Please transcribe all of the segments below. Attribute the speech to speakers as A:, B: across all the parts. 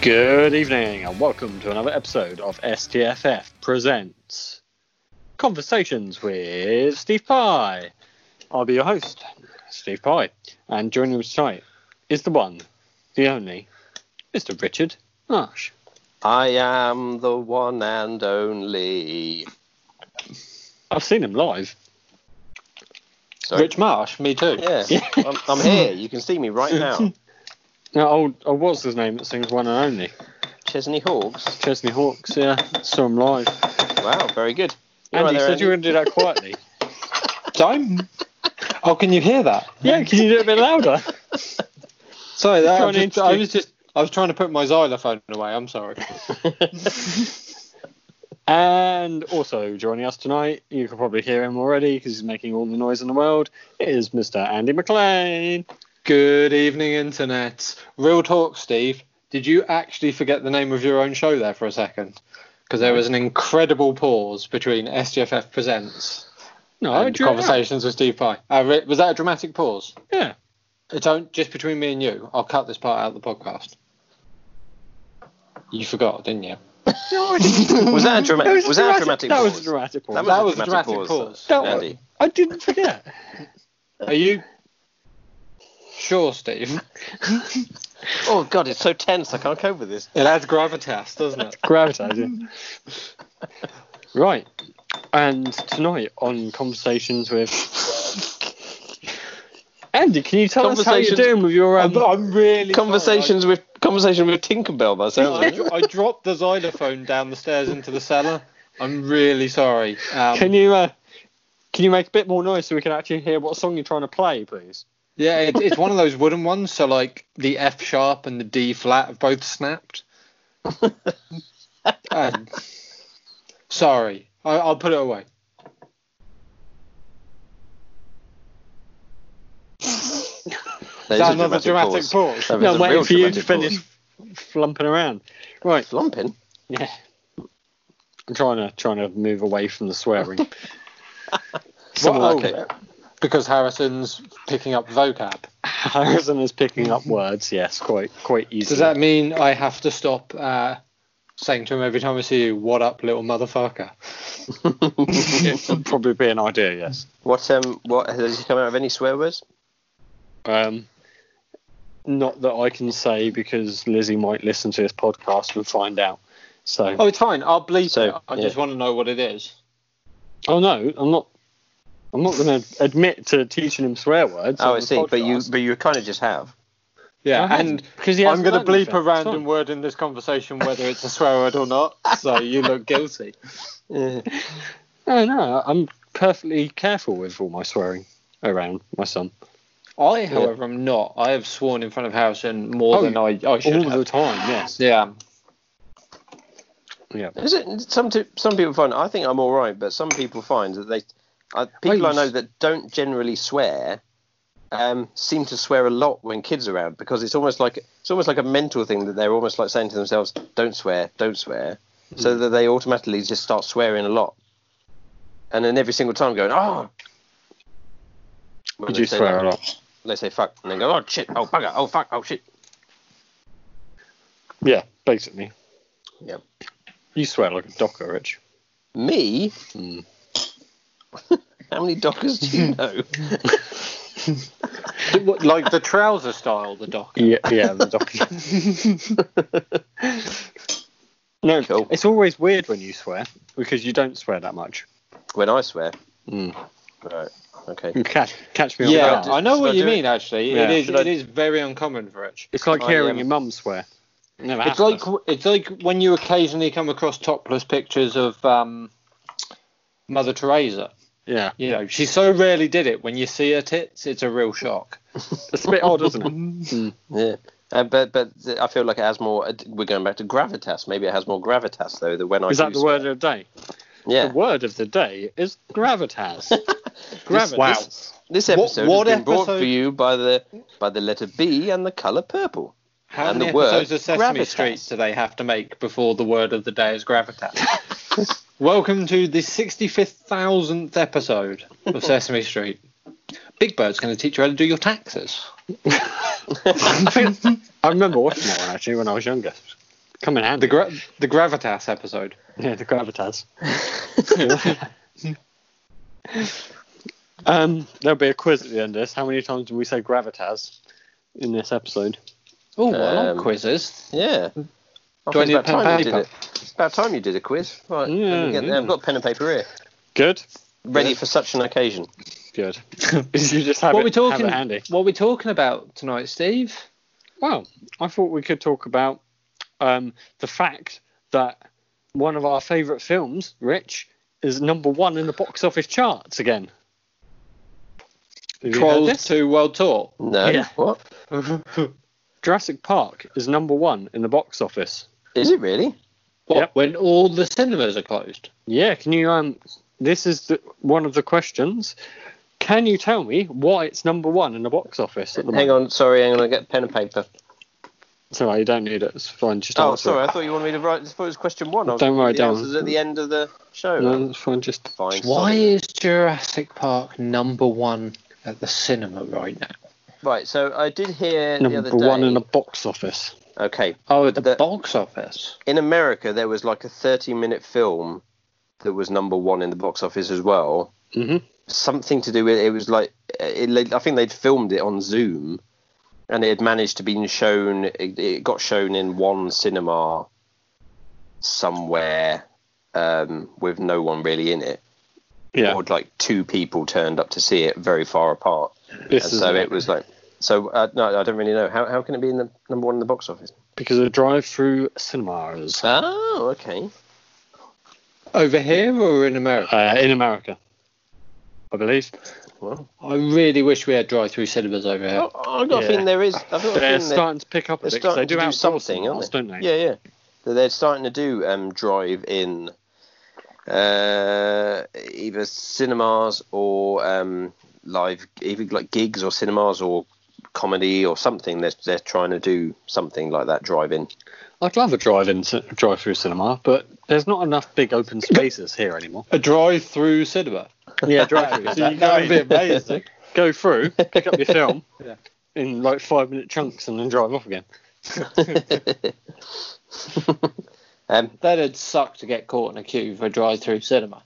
A: Good evening, and welcome to another episode of STFF Presents Conversations with Steve Pye. I'll be your host, Steve Pye, and joining us tonight is the one, the only, Mr. Richard Marsh.
B: I am the one and only.
A: I've seen him live.
B: Sorry.
C: Rich Marsh, me too.
B: Yeah, I'm, I'm here. You can see me right now.
A: Now, old, oh, what's his name that sings One and Only?
B: Chesney Hawks.
A: Chesney Hawks, yeah. Saw him live.
B: Wow, very good. You
A: Andy,
B: right
A: you
B: there,
A: said you were
B: Andy?
A: going to do that quietly.
C: Dime. Oh, can you hear that?
A: yeah, can you do it a bit louder?
C: Sorry, that, I,
A: Trying to
C: was just, I was just I was trying to put my xylophone away. I'm sorry.
A: And also joining us tonight, you can probably hear him already because he's making all the noise in the world, is Mr. Andy McLean.
C: Good evening, internet. Real talk, Steve. Did you actually forget the name of your own show there for a second? Because there was an incredible pause between SGFF presents
A: No, I
C: and
A: drew it out.
C: conversations with Steve Pye. Uh, re- was that a dramatic pause?
A: Yeah.
C: It's on, just between me and you. I'll cut this part out of the podcast. You forgot, didn't you?
A: No, I didn't.
B: Was that a dramatic?
A: That
B: Was, that a dramatic?
A: That
B: pause?
A: was a dramatic pause.
B: That was,
C: That
B: a
C: was a
B: dramatic,
C: dramatic
B: pause.
C: pause.
A: That was-
B: Andy.
A: I didn't forget.
C: Are you sure, Steve?
B: Oh God, it's so tense. I can't cope with this.
C: It adds gravitas, doesn't it?
A: Gravitizing. right. And tonight on Conversations with. Andy, can you tell us how you're
B: Conversations-
A: doing with your. Um...
C: really
B: Conversations with conversation with Tinkerbell. That sounds.
C: I, I dropped the xylophone down the stairs into the cellar. I'm really sorry. Um,
A: Can you. Uh... Can you make a bit more noise so we can actually hear what song you're trying to play, please?
C: yeah, it, it's one of those wooden ones. So like the F sharp and the D flat have both snapped. Um, sorry, I, I'll put it away.
B: There's
C: That's
B: a
C: another dramatic pause.
B: That was
A: No,
B: a
A: I'm waiting
B: real
A: for you to
B: dramatic
A: finish
B: pause.
A: flumping around. Right,
B: Slumping.
A: yeah. I'm trying to trying to move away from the swearing.
C: Well,
B: Well,
C: oh,
B: okay.
C: Because Harrison's picking up vocab.
A: Harrison is picking up words, yes, quite quite easily.
C: Does that mean I have to stop uh, saying to him every time I see you, "What up, little motherfucker"?
A: it would probably be an idea, yes.
B: What um? What has he come out of any swear words?
A: Um, not that I can say because Lizzie might listen to this podcast and find out. So,
C: Oh, it's fine. I'll bleep
B: So,
C: it. I just want to know what it is.
A: oh no, I'm not. I'm not going to admit to teaching him swear words.
B: Oh,
A: on
B: I
A: the
B: see. But you,
A: podcast.
B: but you kind of just have.
C: Yeah,
A: I
C: and
A: haven't, because he
C: I'm
A: hasn't
C: going to
A: learned
C: bleep
A: anything.
C: a
A: It's
C: random
A: fine.
C: word in this conversation, whether it's a swear word or not. So you look guilty.
A: No, Oh, no, I'm perfectly careful with all my swearing around my son
C: I, however, am not. I have sworn in front of Harrison more
A: Oh,
C: than I, I should
A: all
C: have.
A: the time. Yes.
C: Yeah.
A: Yeah.
B: Is it some t- some people find I think I'm all right, but some people find that they uh, people
A: you
B: I know
A: s-
B: that don't generally swear um, seem to swear a lot when kids are around because it's almost like it's almost like a mental thing that they're almost like saying to themselves, "Don't swear, don't swear,"
A: Hmm.
B: so that they automatically just start swearing a lot, and then every single time going, "Oh." When
A: Did
B: they
A: you
B: say
A: swear
B: that,
A: a lot?
B: They say fuck, and they go, "Oh shit, oh bugger, oh fuck, oh shit."
A: Yeah, basically.
B: Yep.
A: You swear like a docker, Rich.
B: Me?
A: Hmm.
B: How many dockers do you know?
C: like the trouser style, the doc.
A: Yeah, yeah, the docker. no,
B: Cool.
A: it's always weird when you swear because you don't swear that much.
B: when I swear.
C: Hmm.
A: Mm.
B: Right. Okay.
A: You catch, catch me on
C: Yeah,
A: that.
B: do-
C: I know
B: should I
C: what you
B: do it?
C: mean. Actually,
A: Yeah.
C: it is.
B: Should I-
C: It is very uncommon for Rich.
A: It's like
B: I,
A: hearing
B: um,
A: your mum swear. It Never
C: It's like
A: happens.
C: it's like when you occasionally come across topless pictures of um, Mother Teresa.
A: yeah,
C: You know, she so rarely did it. When you see her tits, it's a real shock.
A: it's a bit odd, isn't it?
B: Yeah. Uh, but but th- I feel like it has more. uh, We're going back to gravitas. Maybe it has more gravitas though. That when I
A: Is
B: do
A: that the
B: swear.
A: word of the day?
B: Yeah.
A: The word of the day is gravitas. gravitas.
C: Wow.
B: This
C: What-
B: episode
C: what
B: has been brought for
C: episode-
B: you by the by the letter B and the color purple.
C: How
B: And
C: many
B: the word
C: episodes of Sesame
B: gravitas.
C: Street do they have to make before the word of the day is gravitas? Welcome to the 65,000th episode of Sesame Street. Big Bird's going to teach you how to do your taxes.
A: I think I remember watching that one actually when I was younger. Come in handy.
C: The gra- the gravitas episode.
A: yeah, the gravitas. um, there'll be a quiz at the end of this. How many times did we say gravitas in this episode?
C: Oh,
B: I like
A: Um,
C: quizzes.
B: Yeah.
C: Do I
B: it's
C: need
B: about
C: pen and
B: time you did
C: paper?
B: it. It's about time you did a quiz. Right. let me get there. I've got pen and paper here,
A: Good.
B: ready
A: Yeah.
B: for such an occasion.
A: Good. you just have
C: What
A: it,
C: we talking?
A: have it handy.
C: What we talking about tonight, Steve?
A: Well, I thought we could talk about um, the fact that one of our favourite films, Rich, is number one in the box office charts again. Have you heard
C: Trolls
A: this?
C: Two World Tour.
B: No.
A: Yeah.
B: What?
A: Jurassic Park is number one in the box office.
B: Is it really?
C: What?
A: Yep.
C: When all the cinemas are closed.
A: Yeah, can you? Um, this is the, one of the questions. Can you tell me why it's number one in the box office at the
B: Hang
A: moment?
B: on. Sorry. Hang on. I get pen and paper.
A: Sorry, you don't need it. It's fine. Just
B: Oh,
A: answer
B: sorry.
A: it.
B: I thought you wanted me to write. I thought it was question one. I was
A: Don't worry,
B: the
A: don't-
B: Answers at the end of the show.
A: No, it's fine. Just
B: Fine.
C: Why
B: sorry.
C: is Jurassic Park number one at the cinema right now?
B: Right. So I did hear the
A: number
B: other day.
A: one in the box office.
B: Okay.
C: Oh, at the,
B: The-
C: box office.
B: in America, there was like a 30 minute film that was number one in the box office as well.
A: Mhm.
B: Something to do with it was like, it, I think they'd filmed it on Zoom and it had managed to be shown, it, it got shown in one cinema somewhere um, with no one really in it.
A: Yeah,
B: Or like two people turned up to see it very far apart.
A: this
B: And
A: is
B: so it was like, so uh, no, I don't really know. How, how can it be in the number one in the box office?
A: because of drive-through cinemas
B: Oh, okay.
C: Over here or in America?
A: uh, in America, I believe.
B: Well,
C: Uh, I really wish we had drive-through cinemas over here.
B: Oh, I've got
A: Yeah.
B: a feeling there is. I've got a
A: They're
B: feeling they're,
A: starting to pick up a
B: they're
A: bit. 'cause They
B: starting
A: do,
B: to do
A: outdoor
B: something, aren't
A: cinemas,
B: they?
A: don't they?
B: Yeah, yeah. So They're starting to do um, drive-in, uh, either cinemas or um, live, either like gigs or cinemas or comedy or something. They're they're trying to do something like that drive-in.
A: I'd love a drive-in, ci- drive-through cinema, but there's not enough big open spaces here anymore.
C: A drive-through cinema.
A: Yeah, drive-through. so you go in,
C: amazing.
A: go through, pick up your film
C: Yeah.
A: in like five minute chunks, and then drive off again.
B: um,
C: That'd suck to get caught in a queue for a drive-through cinema.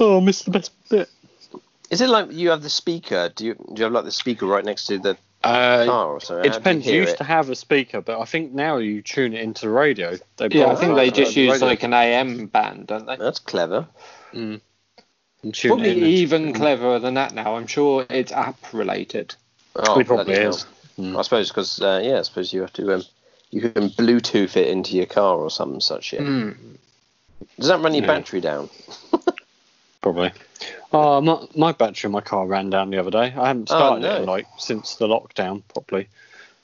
A: Oh, I missed the best bit.
B: is it like you have the speaker? Do you do you have like the speaker right next to the
A: Uh,
B: car or something?
A: it
B: How do
A: depends. You
B: You hear
A: used
B: it?
A: to have a speaker, but I think now you tune it into the radio. They
C: Yeah, I
A: broadcast
C: think they
A: it
C: just
A: on the
C: use
A: radio
C: like an AM band, don't they?
B: That's clever.
A: and tune it
C: Probably
A: in and-
C: even cleverer than that now. I'm sure it's app related.
B: Oh,
A: It probably
B: bloody hell.
A: is. Hmm.
B: I suppose because uh, yeah, I suppose you have to um, you can Bluetooth it into your car or some such shit.
A: Hmm.
C: Hmm.
B: Does that run your
A: Yeah.
B: battery down?
A: Probably. Oh, my, my battery in my car ran down the other day. I hadn't started
B: Oh, no.
A: it like since the lockdown properly.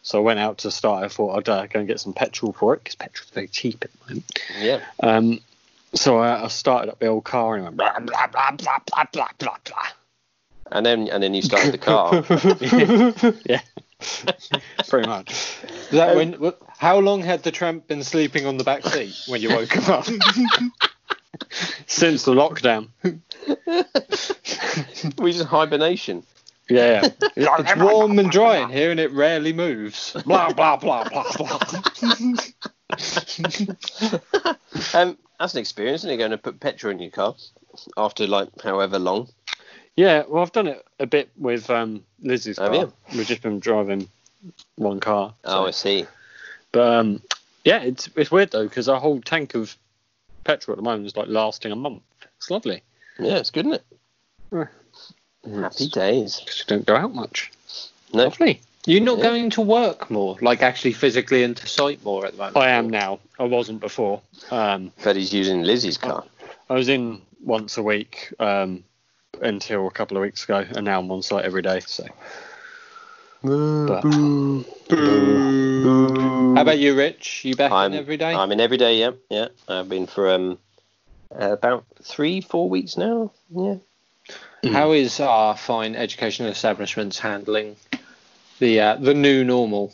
A: So I went out to start. I thought I'd uh, go and get some petrol for it because petrol's very cheap at the moment.
B: Yeah.
A: Um, so I, I started up the old car and it went blah blah blah blah blah blah blah blah.
B: And then and then you start the car.
A: yeah, pretty much.
C: That when, wh- how long had the tramp been sleeping on the back seat when you woke him up?
A: Since the lockdown,
B: we just hibernation.
A: yeah, yeah.
C: It's warm and dry in here, and it rarely moves.
A: blah blah blah blah blah.
B: Um, that's an experience, isn't it? Going to put petrol in your car after like however long.
A: Yeah, well, I've done it a bit with um, Lizzie's
B: Have
A: car.
B: you?
A: We've just been driving one car.
B: Oh,
A: so-
B: I see.
A: But um, yeah, it's it's weird though because our whole tank of petrol at the moment is like lasting a month. It's lovely.
B: Yeah, it's good, isn't it?
A: Yeah.
B: Happy days.
A: Because we don't go out much.
B: No.
A: Lovely.
C: You're not
B: Yeah.
C: going to work more, like actually physically into sight more at the moment.
A: I am now. I wasn't before. Um,
B: Freddie's using Lizzie's car.
A: I was in once a week um, until a couple of weeks ago, and now I'm on site every day. So but-
C: How about you, Rich? You back
B: I'm
C: in every day?
B: I'm in every day. Yeah, yeah. I've been for um about three, four weeks now. Yeah.
C: How is our fine educational establishments handling the uh, the new normal?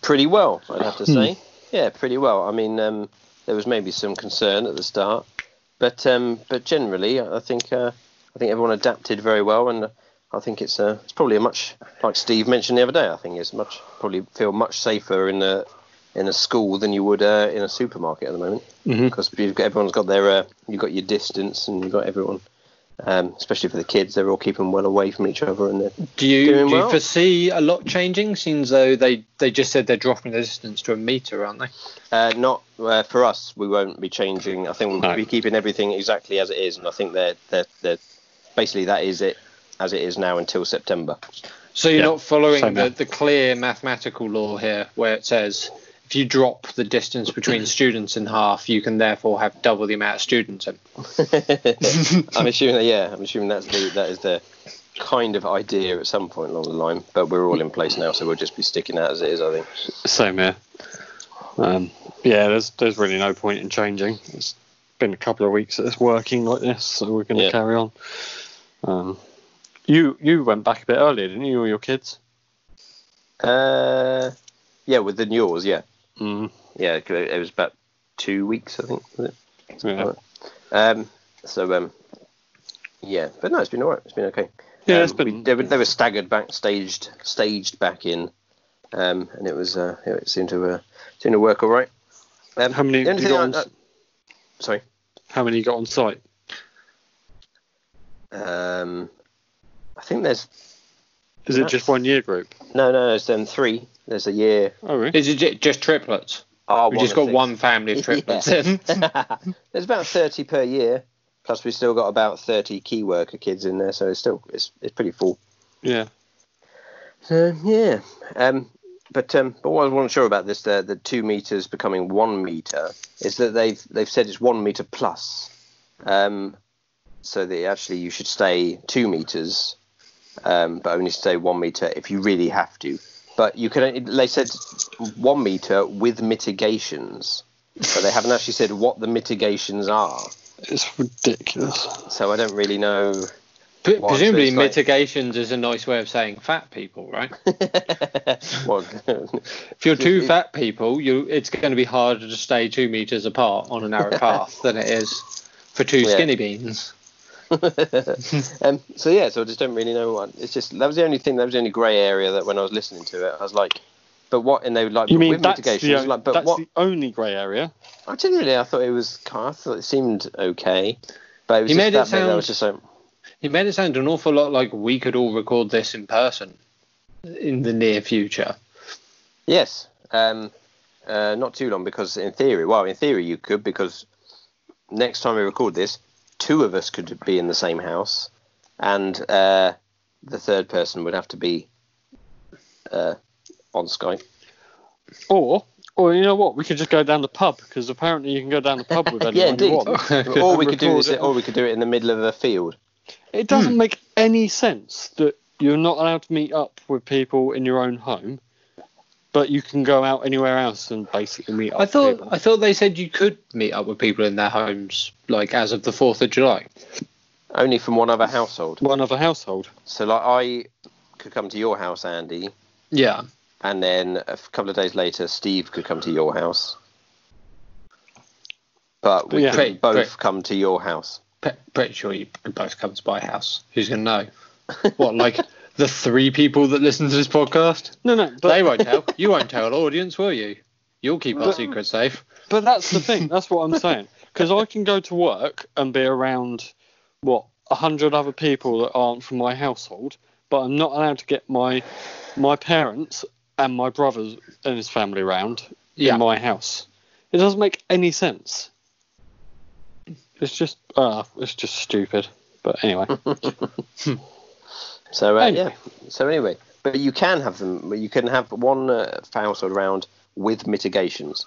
B: pretty well, I'd have to say. yeah, pretty well. I mean, um, there was maybe some concern at the start, but um, but generally, I think uh, I think everyone adapted very well, and I think it's uh, it's probably a much like Steve mentioned the other day. I think it's much probably feel much safer in the in a school than you would uh, in a supermarket at the moment
A: Mhm.
B: because everyone's got their uh, you've got your distance and you've got everyone. Um, especially for the kids, they're all keeping well away from each other, and they're-
C: Do you,
B: Doing
C: do you
B: well.
C: foresee a lot changing? Seems though they, they just said they're dropping the distance to a meter, aren't they?
B: uh, not uh, for us. We won't be changing. I think we'll
A: No.
B: be keeping everything exactly as it is, and I think they're they're, they're basically that is it as it is now until September.
C: So you're
A: Yeah,
C: not following
A: same
C: the,
A: here.
C: the clear mathematical law here, where it says if you drop the distance between students in half, you can therefore have double the amount of students in.
B: I'm assuming that yeah, I'm assuming that's the that is the kind of idea at some point along the line. But we're all in place now, so we'll just be sticking out as it is. I think.
A: Same here. Um, yeah, there's there's really no point in changing. It's been a couple of weeks that it's working like this, so we're going to
B: Yeah.
A: carry on. Um, you you went back a bit earlier, didn't you, or your kids?
B: Uh, yeah, with the yours, yeah,
A: Mm,
B: yeah. 'cause It it was about two weeks, I think. Was it?
A: yeah.
B: Alright. Um, so um, yeah, but no, it's been alright. It's been okay.
A: Yeah,
B: um,
A: it's been-
B: we- They were, they were staggered back, staged, staged back in, um, and it was uh, it seemed to uh, seemed to work all right. Um,
A: How many
B: the
A: have
B: only
A: you
B: thing
A: got
B: I-
A: on,
B: I- sorry.
A: how many you got on site?
B: Um, I think there's
A: Is it just one year group?
B: no, no, it's them three. There's a year.
A: Oh, really?
C: Is it ju- just triplets?
B: Oh,
C: We've just
B: of
C: got
B: six.
C: one family of
B: Yeah.
C: triplets in.
B: There's about thirty per year. Plus, we've still got about thirty key worker kids in there, so it's still it's, it's pretty full.
A: Yeah.
B: So Uh, yeah, um, but um, but what I wasn't sure about this the the two meters becoming one meter is that they've they've said it's one meter plus, um, so that actually you should stay two meters, um, but only stay one meter if you really have to. But you can only- they said one meter with mitigations, but they haven't actually said what the mitigations are.
A: It's ridiculous.
B: So I don't really know.
C: P-
B: Why, so
C: presumably,
B: it's like-
C: mitigations is a nice way of saying fat people, right?
B: what,
C: If you're two
B: it-
C: fat people, you it's going to be harder to stay two meters apart on a narrow path than it is for two
B: Yeah.
C: skinny beans.
B: um, so yeah, so I just don't really know what. It's just that was the only thing. That was the only grey area that when I was listening to it, I was like, "But what?" And they were like,
A: You
B: but
A: mean
B: with
A: that's,
B: mitigation?"
A: the,
B: I was like, "But
A: that's
B: what?"
A: the only grey area?
B: I didn't really. I thought it was. I thought it seemed okay, but it was
C: You
B: just
C: made it
B: that bit that I was
C: sound-
B: just like,
C: He made it sound an awful lot like we could all record this in person in the near future.
B: "Yes, um, uh, not too long," because in theory, well, in theory you could because next time we record this, two of us could be in the same house, and uh, the third person would have to be uh, on Skype.
A: Or, or you know what? We could just go down the pub because apparently you can go down the pub with anyone
B: Yeah,
A: you
B: indeed.
A: want.
B: or we could do
A: Record
B: this,
A: it.
B: or we could do it in the middle of a field.
A: It doesn't make any sense that you're not allowed to meet up with people in your own home, but you can go out anywhere else and basically meet up.
C: I
A: with
C: thought
A: people.
C: I thought they said you could meet up with people in their homes, like as of the fourth of July.
B: Only from one other household.
A: one other household.
B: So, like, I could come to your house, Andy,
C: Yeah,
B: and then a f- couple of days later, Steve could come to your house. But we
A: Yeah.
B: could
C: Great,
B: both
C: great.
B: come to your house.
C: P- pretty sure you could both come to my house. Who's gonna know? What like the three people that listen to this podcast?
A: No, no, but,
C: they won't tell. You won't tell audience, will you? You'll keep our
A: But-
C: secret safe.
A: but that's the thing. That's what I'm saying. Because I can go to work and be around what a hundred other people that aren't from my household, but I'm not allowed to get my my parents and my brothers and his family round
C: Yeah.
A: in my house. It doesn't make any sense. It's just uh, it's just stupid. But anyway,
B: So, uh,
A: Anyway.
B: yeah. So, anyway, but you can have them, you can have one uh, household round with mitigations.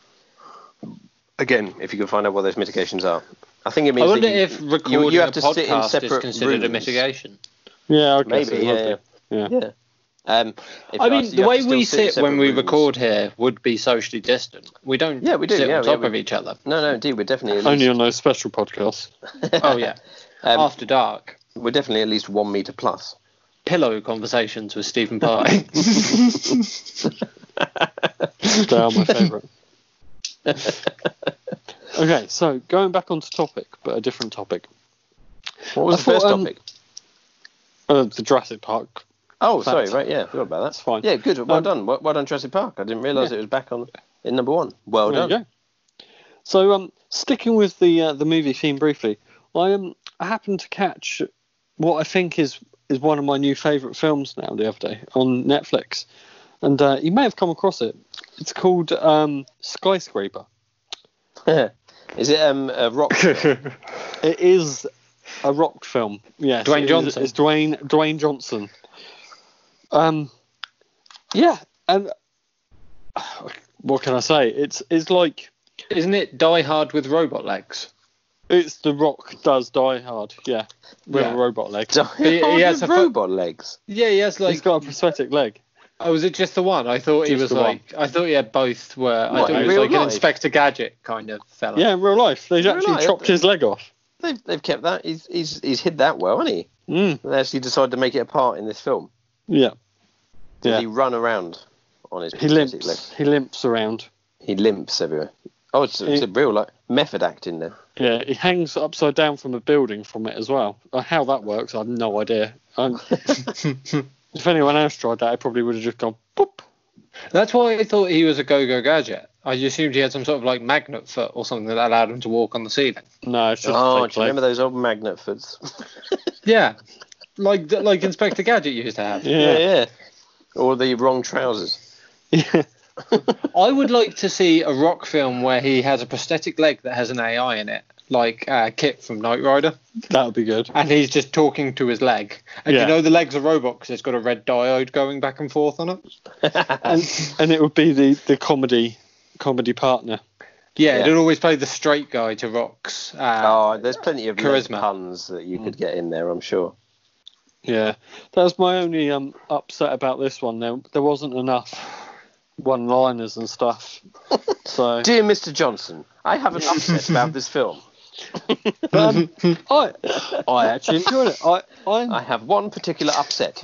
B: Again, if you can find out what those mitigations are. I think it
C: I
B: means that
C: wonder
B: you-
C: if
B: you-
C: recording
B: you, have
C: a
B: to
C: podcast
B: sit in separate
C: is considered a
B: rooms.
C: mitigation.
A: yeah, I guess
B: Maybe,
A: it would
B: yeah,
A: be. yeah.
B: Yeah. Um, if
C: I
B: you
C: mean,
B: ask-
C: the
B: you have
C: way
B: to still
C: we
B: in
C: sit when
B: separate
C: we
B: rooms.
C: record here would be socially distant. We don't
B: Yeah, we do,
C: sit
B: yeah,
C: on top
B: yeah, we-
C: of each other.
B: No, no, indeed, we're definitely at
A: Only
B: least,
A: on those special podcasts.
C: Oh, yeah.
B: um,
C: After dark.
B: we're definitely at least one meter plus.
C: Pillow conversations with Stephen Pye.
A: They are my favourite. okay, so going back onto topic, but a different topic.
B: What was
A: I
B: the
A: thought,
B: first
A: um,
B: topic?
A: Uh, the Jurassic Park.
B: Oh, sorry,
A: fact.
B: right, yeah, forgot about that.
A: That's fine.
B: Yeah, good. Well
A: Um,
B: done. Well, well done, Jurassic Park. I didn't realise
A: yeah.
B: it was back on. in number one. Well
A: There you
B: done.
A: go. So, um, sticking with the uh, the movie theme briefly, I um, I happened to catch what I think is is one of my new favourite films now the other day on Netflix, and uh, you may have come across it. It's called um, Skyscraper.
B: Is it um, a rock?
A: It is a rock film. Yes,
C: Dwayne
A: it is-
C: Johnson.
A: It's Dwayne Dwayne Johnson. Um, yeah, and what can I say? It's it's like
C: Isn't it Die Hard with robot legs?
A: it's The Rock does Die Hard. Yeah, with
C: Yeah.
A: a robot leg.
C: he has
B: has
C: a fo-
B: robot legs.
C: Yeah, he has
A: He's got a prosthetic leg.
C: Oh, was it just the one? I thought
A: Just
C: he was
A: the one.
C: like. I thought he had both. Were I
B: What,
C: thought
B: in
C: he was
B: real
C: like an
B: life?
C: Inspector Gadget kind of fella.
A: Yeah, in real life, they've
B: real
A: actually
B: life,
A: chopped
B: they-
A: his leg off.
B: They've, they've kept that. He's, he's he's hid that well, hasn't he?
A: Mm,
B: They actually decided to make it a part in this film.
A: yeah,
B: Did
A: Yeah.
B: he run around on his
A: he
B: prosthetic leg?
A: limps. He limps around.
B: He limps everywhere. Oh, it's, it's
A: He-
B: a real like method acting there.
A: Yeah, he hangs upside down from a building from it as well. Uh, How that works, I have no idea. Um, if anyone else tried that, I probably would have just gone boop.
C: That's why I thought he was a go-go gadget. I assumed he had some sort of like magnet foot or something that allowed him to walk on the ceiling.
A: No, it's just a
B: Oh, do
A: fake
B: you
A: leg.
B: remember those old magnet foots?
C: Yeah, like like Inspector Gadget used to have.
B: yeah,
A: Yeah.
B: yeah. Or the wrong trousers.
A: yeah.
C: I would like to see a rock film where he has a prosthetic leg that has an AI in it, like uh, Kit from Knight Rider,
A: that would be good.
C: and he's just talking to his leg. And
A: Yeah.
C: you know the leg's a robot because it's got a red diode going back and forth on it.
A: And and it would be the, the comedy comedy partner.
C: Yeah,
B: Yeah.
C: it'd always play the straight guy to rocks. Uh,
B: Oh, there's plenty of charisma
C: Charisma.
B: puns that you could get in there, I'm sure.
A: Yeah, that was my only um upset about this one. There there wasn't enough one liners and stuff. So
B: Dear Mr. Johnson, I have an upset about this film.
A: but, um, I I actually enjoyed it. I I'm,
B: I have one particular upset.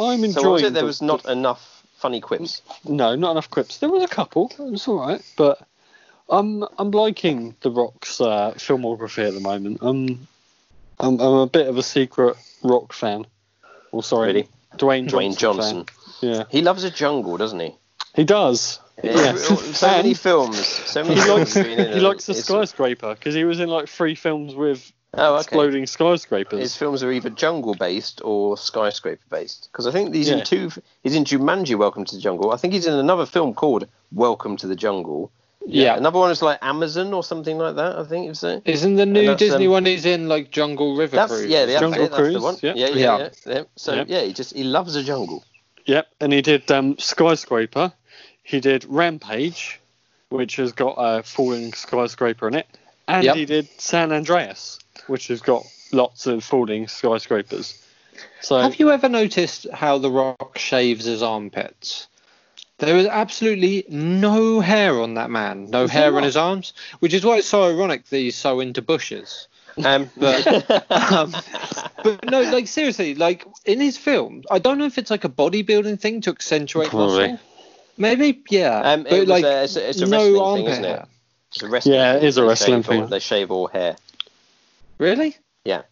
A: I'm enjoying.
B: So what was it? There
A: the-
B: was not enough funny quips.
A: No, not enough quips. There was a couple. It was all right, but I'm I'm liking The Rock's uh, filmography at the moment. Um, I'm I'm a bit of a secret Rock fan. Well, sorry,
B: Really?
A: Dwayne Johnson.
B: Dwayne Johnson.
A: fan. Yeah,
B: He loves a jungle, doesn't he?
A: he does. Yes.
B: So many
A: And
B: films. So many
A: He
B: films.
A: likes
B: he's been in
A: he
B: and
A: likes the
B: it's-
A: skyscraper because he was in like three films with
B: Oh, okay.
A: exploding skyscrapers.
B: His films are either jungle based or skyscraper based. Because I think he's
A: Yeah.
B: in two. He's in Jumanji: Welcome to the Jungle. I think he's in another film called Welcome to the Jungle.
C: yeah.
B: Another one is like Amazon or something like that. I think it's uh,
C: Isn't the new
B: that's,
C: Disney
B: um,
C: one he's in like Jungle River
B: that's
C: Cruise?
B: yeah, that's,
A: Jungle
B: it, that's the
A: Cruise,
B: one.
A: yeah.
B: Yeah, yeah,
C: Yeah.
B: yeah. yeah. So
A: Yeah.
B: yeah, he just he loves the jungle.
A: Yep, and he did um, Skyscraper. He did Rampage, which has got a falling skyscraper in it, and
C: Yep.
A: he did San Andreas, which has got lots of falling skyscrapers. So
C: Have you ever noticed how The Rock shaves his armpits? There is absolutely no hair on that man, no hair on his arms, which is why it's so ironic that he's so into bushes.
B: Um,
C: But, um, but no, like seriously, like in his films, I don't know if it's like a bodybuilding thing to accentuate
A: Probably.
C: muscle. Maybe, yeah.
B: um,
C: but
B: it was
C: like
B: a, it's a, it's a
C: no
B: wrestling
C: armpit
B: thing, isn't it?
C: hair.
B: It's a wrestling
A: Yeah, it
B: thing.
A: is a
B: They
A: wrestling
B: shave all-
A: thing.
B: they shave all hair.
C: Really?
B: Yeah. I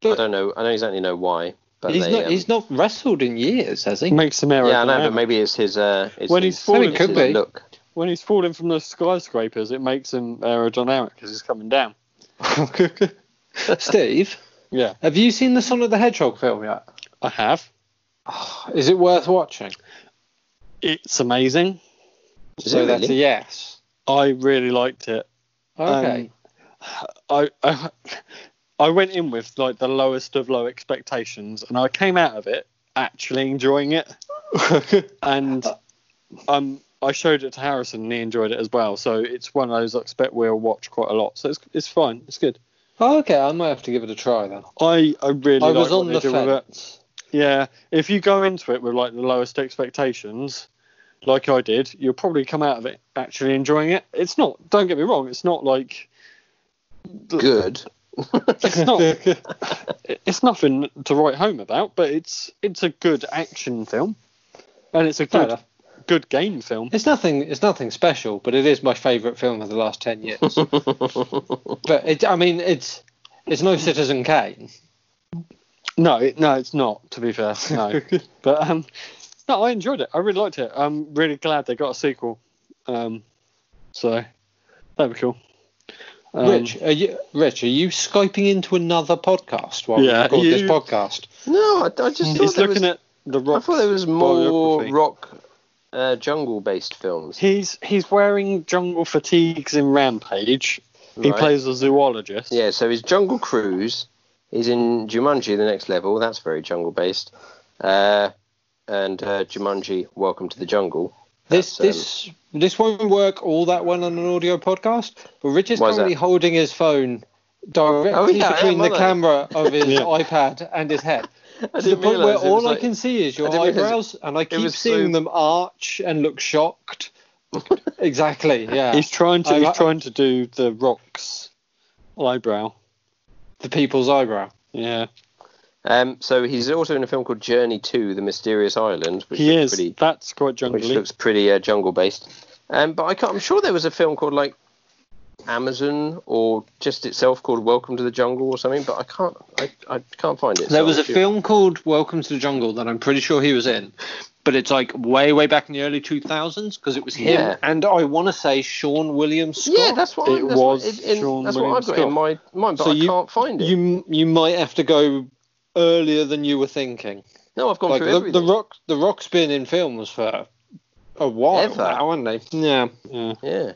C: But-
B: don't know. I don't exactly know why. But
C: he's
B: they,
C: not.
B: um,
C: he's not wrestled in years, has he?
A: makes him
B: yeah, I know, but
A: aerodynamic.
B: maybe it's his. Uh, it's
A: When
B: his-
A: he's falling-
B: it's
C: Could
B: his
C: be.
B: Look.
A: when he's falling from the skyscrapers, it makes him aerodynamic because he's coming down.
C: Steve,
A: Yeah,
C: have you seen the Son of the Hedgehog film yet?
A: I have.
C: Is it worth watching?
A: It's amazing.
B: Is
C: so
B: it
C: that's a
B: really?
C: yes.
A: I really liked it. Um,
C: Okay.
A: I, I I went in with like the lowest of low expectations, and I came out of it actually enjoying it. and um, I showed it to Harrison, and he enjoyed it as well. So it's one of those I expect we'll watch quite a lot. So it's it's fine. It's good.
C: oh, okay. I might have to give it a try then.
A: I I really
C: I
A: like
C: was
A: what
C: on
A: they
C: the
A: do with it.
C: fence.
A: Yeah, if you go into it with like the lowest expectations, like I did, you'll probably come out of it actually enjoying it. It's not. Don't get me wrong. It's not like
B: Good.
A: it's not it's nothing to write home about, but it's it's a good action film, and it's a
C: Fair
A: good
C: enough.
A: good game film.
C: It's nothing. It's nothing special, but it is my favourite film of the last ten years. but it, I mean, it's it's no Citizen Kane.
A: No, it, no, it's not. To be fair, no. but um, No, I enjoyed it. I really liked it. I'm really glad they got a sequel. Um, so that'd be cool. Um,
C: Rich, are you, Rich, are you skyping into another podcast while
A: Yeah,
C: we record
A: you-
C: this podcast?
B: No, I, I just
C: Hmm.
B: thought
A: he's
B: there
A: looking
B: was,
A: at the
B: I
A: rock.
B: thought there was more
A: biography.
B: rock uh, jungle based films.
A: He's he's wearing jungle fatigues in Rampage. He
B: Right.
A: plays a zoologist.
B: Yeah, so his Jungle Cruise is in Jumanji: The Next Level. That's very jungle based. Uh, and uh, Jumanji: Welcome to the Jungle.
C: This
B: That's, um,
C: this this won't work all that well on an audio podcast. But Rich is
B: Why is
C: currently
B: that?
C: holding his phone directly
B: Oh, yeah, I am,
C: between the
B: aren't I?
C: camera of his
A: Yeah.
C: iPad and his head.
B: I
C: To the
B: didn't
C: point where
B: realise it
C: all
B: was
C: I
B: like-
C: can see is your
B: I didn't realise it-
C: eyebrows, and I keep
B: was so-
C: seeing them arch and look shocked. exactly. Yeah.
A: He's trying to
C: I- I-
A: he's trying to do the rock's eyebrow.
C: the people's eyebrow.
A: Yeah,
B: Um, so he's also in a film called Journey to the Mysterious Island, which
A: he
B: looks
A: is.
B: pretty,
A: That's quite
B: which
A: jungly.
B: looks pretty uh, jungle based. Um, but I can't, I'm sure there was a film called like Amazon or just itself called Welcome to the Jungle or something, but I can't I, I can't find it.
C: There
B: so
C: was a
B: I'm sure-
C: film called Welcome to the Jungle that I'm pretty sure he was in, but it's like way, way back in the early 2000s because it was him
B: Yeah.
C: and I want to say Sean William Scott.
B: Yeah, that's what I,
A: It
B: that's
A: was
B: What, in-
A: Sean
B: that's what I've got
A: William
B: in my mind, but
C: So
B: I
C: you-
B: can't find it.
C: you you might have to go earlier than you were thinking.
B: no, I've gone
C: Like
B: through
C: the, the
B: everything.
C: Rock, the Rock's been in films for a while
B: Ever.
C: now, hasn't he? Yeah.
A: yeah.
B: yeah,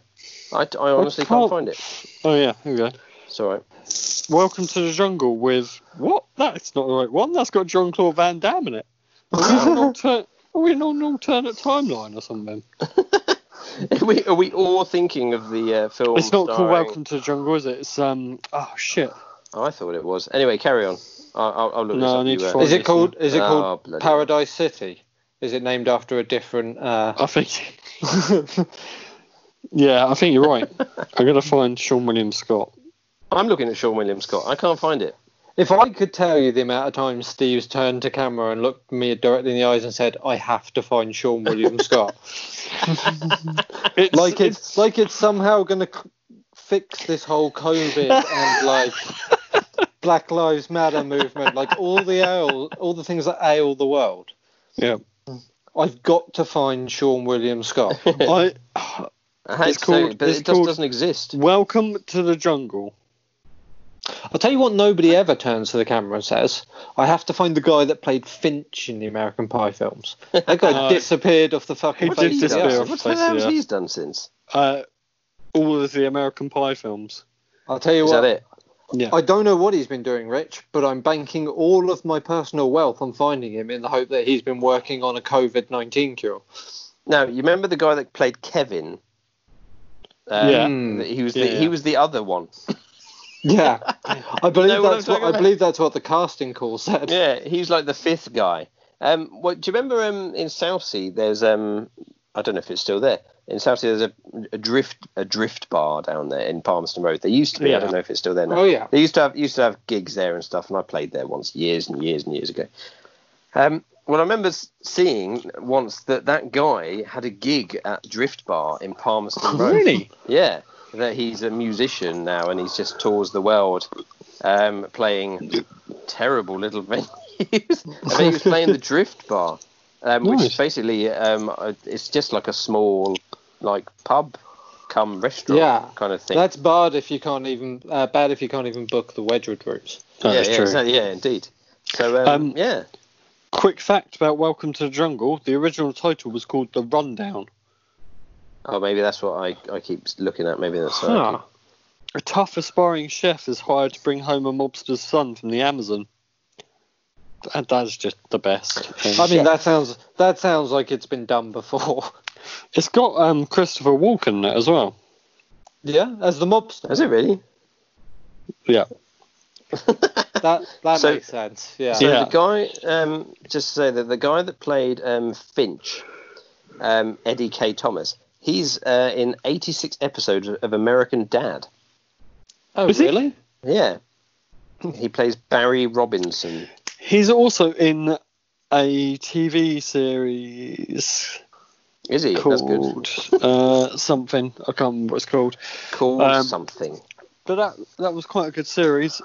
B: I, I honestly
A: can't-
B: can't find it.
A: Oh yeah. Here we go.
B: It's all right.
A: Welcome to the Jungle with what? That's not the right one. That's got John Claude Van Damme in it. Are we, in an alter- are we in an alternate timeline or something?
B: Are we, are we all thinking of the uh, film?
A: it's not called
B: starring-
A: Welcome to the Jungle, is it? It's um. Oh shit.
B: I thought it was. Anyway, carry on. I- I'll, I'll look
A: No,
B: this up.
A: I need
B: You,
A: to
B: uh,
A: find
C: Is it called? Is it
B: Oh,
C: called
B: bloody hell.
C: Paradise City? Is it named after a different? Uh...
A: I think. yeah, I think you're right. I'm gonna find Sean William Scott.
B: I'm looking at Sean William Scott. I can't find it.
C: If I could tell you the amount of times Steve's turned to camera and looked me directly in the eyes and said, "I have to find Sean William Scott,"
A: It's,
C: like it's, like it's somehow going to c- fix this whole COVID and like Black Lives Matter movement, like all the ail, all the things that ail the world.
A: yeah.
C: I've got to find Sean William Scott.
A: I,
B: I had
A: It's
B: to say
A: called-
B: it, but
A: it's
B: it just
A: called-
B: doesn't exist.
A: welcome to the jungle.
C: I'll tell you what, nobody ever turns to the camera and says, "I have to find the guy that played Finch in the American Pie films." That guy
A: No.
C: disappeared off the fucking
A: Uh, He did
B: What has
C: face. of
B: he
A: disappear
B: done?
C: the earth.
A: off
B: What
A: the
B: the
A: face
B: hell
A: of the
B: has
A: earth.
B: he done since?
A: Uh, all of the American Pie films.
C: I'll tell you
B: Is
C: what.
B: that it?
A: Yeah.
C: I don't know what he's been doing, Rich, but I'm banking all of my personal wealth on finding him in the hope that he's been working on a COVID 19 cure.
B: No, you remember the guy that played Kevin? Um,
A: Yeah.
B: th- He was the
A: Yeah, Hmm. yeah.
B: he was the other one.
C: Yeah, I believe
B: know what I'm
C: that's what,
B: talking
C: I
B: about?
C: believe that's what the casting call said.
B: Yeah, he's like the fifth guy. Um, what do you remember? Um, in Southsea, there's um, I don't know if it's still there. In Southsea, there's a, a drift a drift bar down there in Palmerston Road. There used to be.
A: Yeah.
B: I don't know if it's still there now.
C: Oh yeah,
B: They used to have used to have gigs there and stuff, and I played there once years and years and years ago. Um, well, I remember s- seeing once that that guy had a gig at Drift Bar in Palmerston Road.
A: Oh, Really?
B: Yeah, that he's a musician now and he's just tours the world, um, playing terrible little venues. I think he was playing the Drift Bar, um, which
A: Nice.
B: is basically um, uh, it's just like a small like pub, come restaurant
C: Yeah.
B: kind of thing.
C: that's bad if you can't even uh, bad if you can't even book the Wedgwood route.
A: That
B: yeah,
A: is
B: yeah,
A: true.
B: exactly, yeah, indeed. So um,
A: Um,
B: yeah,
A: Quick fact about Welcome to the Jungle: the original title was called The Rundown.
B: oh maybe that's what I, I keep looking at. Maybe that's what I
C: Huh.
A: A tough aspiring chef is hired to bring home a mobster's son from the Amazon. That, that's just the best. thing.
C: I mean, that sounds that sounds like it's been done before.
A: it's got um, Christopher Walken in it as well.
C: yeah, as the
B: keep-
C: mobster,
B: Is it really?
A: Yeah.
C: that that
B: So-
C: makes sense. Yeah,
B: So
A: Yeah.
B: the guy, um, just to say that the guy that played um, Finch, um, Eddie K. Thomas, he's uh, in 86 episodes of American Dad.
C: oh
A: Is he-
C: really?
B: Yeah, he plays Barry Robinson.
A: He's also in a TV series
B: Is he? That's good.
A: called uh, something. I can't remember what it's called.
B: Called
A: Um,
B: something.
A: But that that was quite a good series.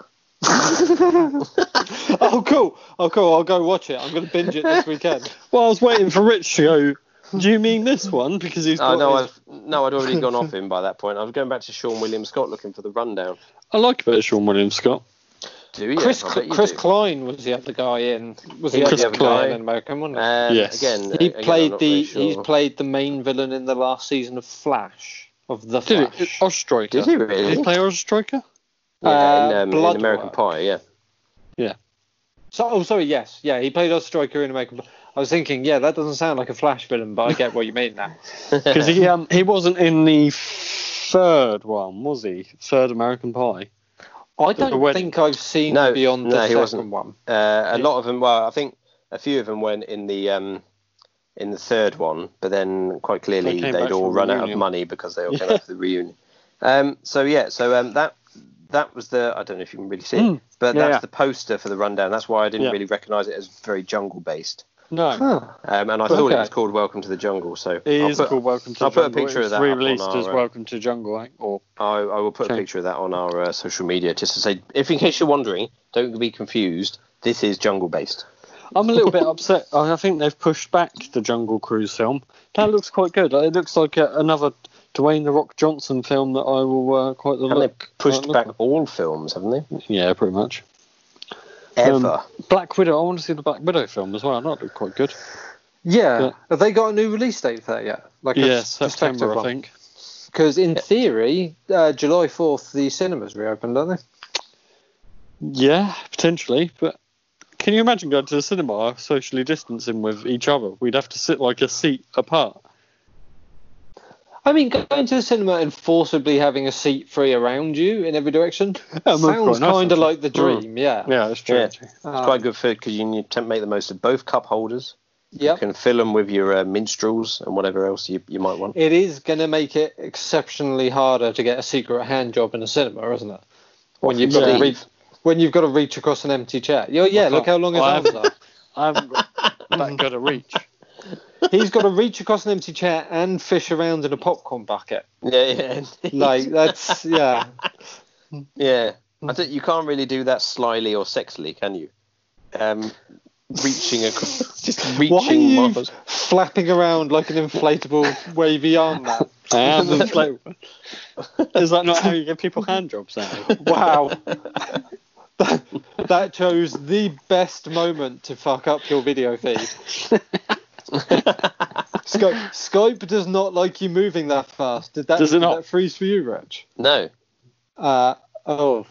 C: Oh, cool. Oh, cool. I'll go watch it. I'm going to binge it this weekend.
A: Well, I was waiting for Rich to go. Do you mean this one? Because he's
B: Oh,
A: got
B: no,
A: his-
B: I've, no, I'd already gone off him by that point. I was going back to Sean William Scott looking for the rundown.
A: I like a bit of Sean William Scott.
B: Do you?
C: Chris
B: I bet you
C: Chris
B: do.
C: Klein was the other guy in. Was
B: He
C: the
B: was
A: the
C: other
A: other
B: guy.
C: guy in American, wasn't he?
B: Um,
A: Yes.
B: Again,
C: he
B: uh, again, I'm
C: played
B: not
C: the
B: really sure.
C: he's played the main villain in the last season of Flash of the
A: Did
C: Flash.
A: he? Striker.
B: Did he
A: Did
B: really?
A: he play Striker?
B: yeah, in,
C: uh,
B: um, in
C: Blood
B: American
C: Work.
B: Pie, yeah.
C: So, oh, sorry, yes, yeah, he played Striker in American. I was thinking, yeah, that doesn't sound like a Flash villain, but I get what you mean now.
A: Because he um he wasn't in the third one, was he? Third American Pie.
C: I
A: The
C: don't
A: wedding.
C: think I've seen
B: No,
C: beyond the
B: no, he
C: second
B: wasn't.
C: one.
B: Uh, a lot of them. Well, I think a few of them went in the um, in the third one, but then quite clearly
A: They
B: they
A: came
B: would
A: back
B: all
A: for
B: run out of
A: reunion.
B: money because they all came
A: Yeah.
B: out for the reunion. Um, so yeah, so um, that that was the. I don't know if you can really see, it,
A: Mm,
B: but
A: yeah,
B: that's
A: yeah.
B: the poster for the rundown. That's why I didn't
A: Yeah.
B: really recognise it as very jungle based.
A: No,
B: Um, and I thought it
C: Okay.
B: was called Welcome to the Jungle. So
A: it
B: I'll
A: is
B: put-
A: called Welcome to
B: I'll put a
A: Jungle.
B: picture
A: it
B: of
A: was
B: that up on
A: re-released
B: our,
A: as
B: uh,
A: Welcome to Jungle, I think, or
B: I, I will put a
A: Okay.
B: picture of that on our uh, social media just to say, if in case you're wondering, don't be confused. This is jungle based.
A: I'm a little bit upset. I I think they've pushed back the Jungle Cruise film. That looks quite good. It looks like uh, another Dwayne the Rock Johnson film that I will uh, quite the
B: And they
A: look.
B: pushed
A: quite
B: back
A: look
B: all films, haven't they?
A: at. Yeah, pretty much. Um,
B: Ever.
A: Black Widow. I want to see the Black Widow film as well. That looked quite good.
C: Yeah.
A: Yeah.
C: have they got a new release date for that yet? Like
A: yeah, September, I think.
C: Because in theory, uh, July fourth, the cinemas reopen, don't they?
A: Yeah, potentially. But can you imagine going to the cinema socially distancing with each other? We'd have to sit like a seat apart.
C: I mean, going to the cinema and forcibly having a seat free around you in every direction
A: that's
C: sounds
A: quite nice,
C: kind of
A: actually.
C: like the dream. Yeah.
A: Yeah, that's true.
B: Yeah.
A: actually.
C: Um,
B: It's quite good for because you need to make the most of both cup holders.
C: Yep.
B: You can fill them with your uh, minstrels and whatever else you, you might want.
C: It is going to make it exceptionally harder to get a secret hand job in a cinema, isn't it? When you've got to
A: Steve?
C: reach, when you've got to reach across an empty chair. Yeah, yeah.
A: Well,
C: Look how long his
A: well, I
C: arms are.
A: I haven't got that good a reach.
C: He's got to reach across an empty chair and fish around in a popcorn bucket.
B: Yeah, yeah.
C: Like that's yeah.
B: yeah. I think you can't really do that slyly or sexily, can you? Um, reaching across, just
C: Why are
B: reaching.
C: you
B: marbles.
C: flapping around like an inflatable wavy arm man?
A: I am inflatable. Is that not how you give people hand jobs now?
C: Wow. that, that chose the best moment to fuck up your video feed. Skype, Skype does not like you moving that fast. Did that,
A: Does it
C: did
A: not?
C: that freeze for you, Rich?
B: No.
C: Uh, oh,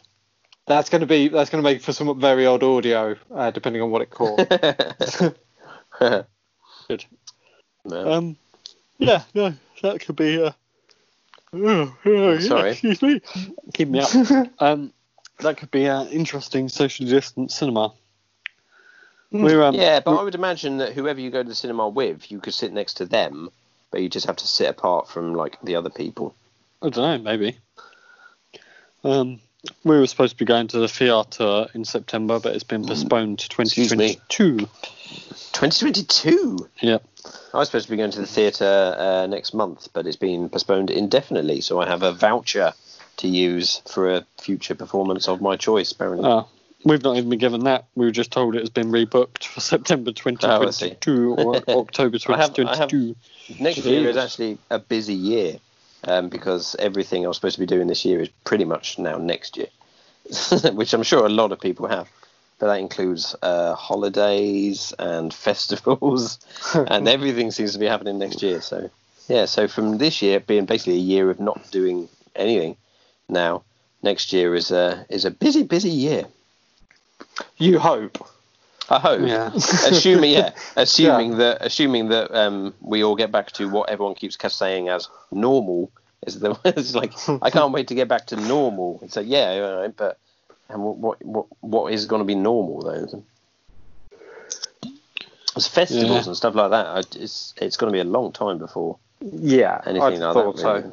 C: that's going to be that's going to make for some very odd audio, uh, depending on what it caught.
A: Good.
B: No.
A: Um, yeah, no, that could be. Uh, oh, oh, yeah,
B: Sorry.
A: Excuse me. Keep me up. um, that could be an interesting socially distant cinema.
C: Hmm.
A: We're um,
B: yeah, but I would imagine that whoever you go to the cinema with, you could sit next to them, but you just have to sit apart from like the other people.
A: I don't know, maybe. Um, we were supposed to be going to the theatre in September, but it's been postponed to
B: Mm. Excuse me.
A: 2022.
B: 2022.
A: Yeah.
B: I was supposed to be going to the theatre uh, next month, but it's been postponed indefinitely. So I have a voucher to use for a future performance of my choice. Apparently,
A: Oh, we've not even been given that. We were just told it has been rebooked for September 2022 or October
B: Oh, I have- I have-
A: 2022.
B: next year is
A: Jeez.
B: actually a busy year um, because everything I was supposed to be doing this year is pretty much now next year, which I'm sure a lot of people have. But that includes uh, holidays and festivals, and everything seems to be happening next year. So, yeah, so from this year being basically a year of not doing anything, now next year is a is a busy, busy year.
C: you hope.
B: I hope.
A: Yeah.
B: assuming yeah, assuming that assuming that um, we all get back to what everyone keeps ca- saying as normal is the it's like I can't wait to get back to normal. It's like yeah, all right, but and what what what, what is going to be normal though? It's festivals
A: Yeah.
B: and stuff like that. I, it's it's going to be a long time before
C: Yeah,
B: anything
C: I
B: like
C: thought
B: that.
C: so.
B: Really.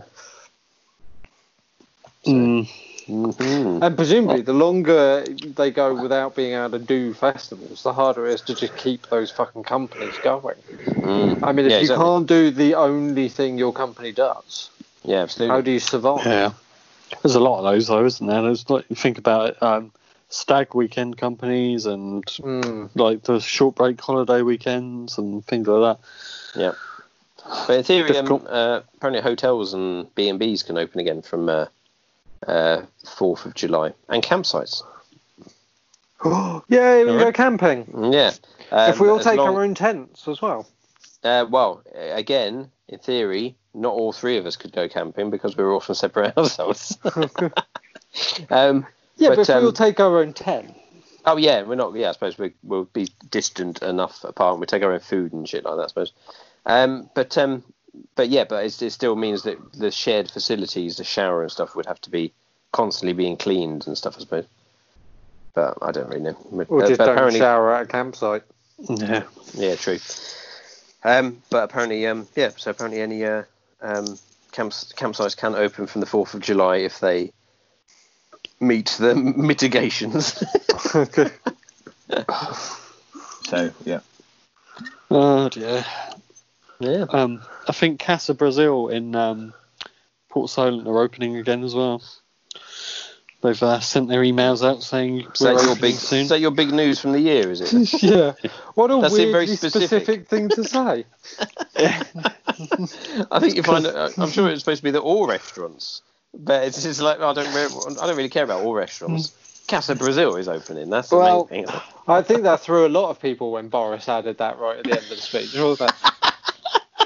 A: Mm,
B: Mhm.
C: And presumably, the longer they go without being able to do festivals, the harder it is to just keep those fucking companies going.
B: Mm.
C: I mean, if
B: Yeah,
C: you
B: exactly.
C: can't do the only thing your company does,
B: Yeah,
C: how
B: absolutely.
C: do you survive?
A: yeah. There's a lot of those, though, isn't there? There's, like, you think about it. Um, stag weekend companies and
C: Mm.
A: like the short break holiday weekends and things like that.
B: But in theory, um,
A: Difficult.
B: uh, apparently hotels and B and B's can open again from uh, uh, 4th of July and campsites.
C: Yay, we
A: All
C: can
A: right.
C: go camping.
B: Yeah. Um,
C: if we all
B: as
C: take
B: long-
C: our own tents as well.
B: Uh, well, uh, again, in theory, not all three of us could go camping because we were all from separate households. um,
C: Yeah, but,
B: But,
C: if we all
B: um,
C: take our own tent.
B: oh yeah, we're not. Yeah, I suppose we, we'll be distant enough apart. and We take our own food and shit like that. I suppose. Um, but um, but yeah, but it's, it still means that the shared facilities, the shower and stuff, would have to be constantly being cleaned and stuff. I suppose. But I don't really know. But-
C: Or
B: but
C: just don't shower at a campsite.
A: Yeah.
B: Yeah, true. Um, but apparently, um, yeah. So apparently, any uh, um, camps campsites can open from the fourth of July if they meet the mitigations. so yeah,
A: Oh dear.
B: yeah.
A: Um, I think Casa Brazil in um, Port Solent are opening again as well. They've uh, sent their emails out saying
B: Is
A: we're
B: that your
A: opening
B: big?
A: soon.
B: Is that your big news from the year? Is it?
C: yeah. What a
B: That seemed
C: weirdly
B: very
C: specific.
B: specific.
C: thing to say.
B: I think you find. uh, I'm sure it's supposed to be that all restaurants, but it's just like I don't. Re- I don't really care about all restaurants. Casa Brazil is opening. That's the
C: Mm. Well,
B: main thing.
C: I think that threw a lot of people when Boris added that right at the end of the speech. All that.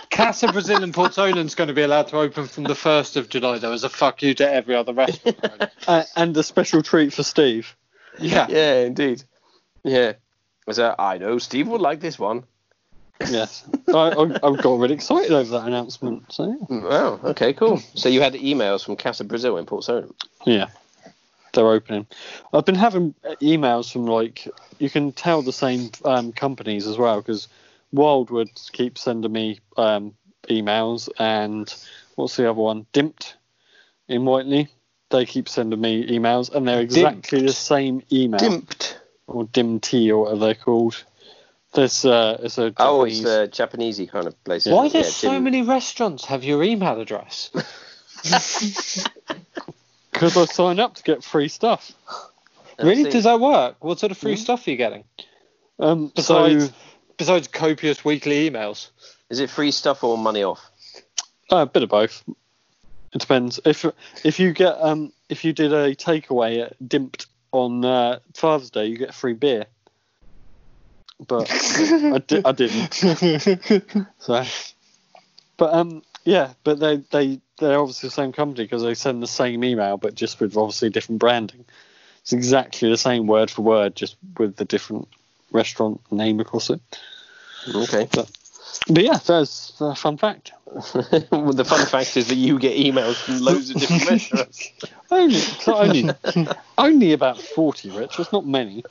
C: Casa Brazil and Port Solon's going to be allowed to open from the 1st of July, though, as a fuck you to every other restaurant.
A: Uh, and a special treat for Steve.
C: yeah.
B: Yeah, indeed. Yeah. So I know Steve would like this one.
A: Yes. I, I, I got really excited over that announcement. So yeah.
B: Wow. Okay. Cool. So you had emails from Casa Brazil in Port Solent.
A: Yeah, they're opening. I've been having emails from like you can tell the same um, companies as well because Wildwood keeps sending me um, emails and what's the other one? Dimpt in Whiteley. They keep sending me emails and they're exactly the same email
B: Dimped.
A: or Dimty or whatever they're called. This uh, it's a
B: Oh, it's
A: Japanese-
B: a Japanesey kind of place.
C: Why
B: isn't it?
C: do
B: Yeah,
C: so
B: dim-
C: many restaurants have your email address?
A: because I signed up to get free stuff.
B: I've
C: really?
B: seen- Hmm?
C: Does that work? What sort of free stuff are you getting?
A: Um, so
C: Besides, besides copious weekly emails.
B: Is it free stuff or money off?
A: Uh, a bit of both. It depends. If if you get um if you did a takeaway at Dimpt on uh, Father's Day, you get free beer. But I, di- I didn't. So, but um yeah, but they they they're obviously the same company because they send the same email, but just with obviously different branding. It's exactly the same word for word, just with the different restaurant name across it.
B: Okay.
A: But yeah, that's a fun fact.
B: well, the fun fact is that you get emails from loads of different restaurants.
A: Only, so only, only about forty, Rich. That's not many.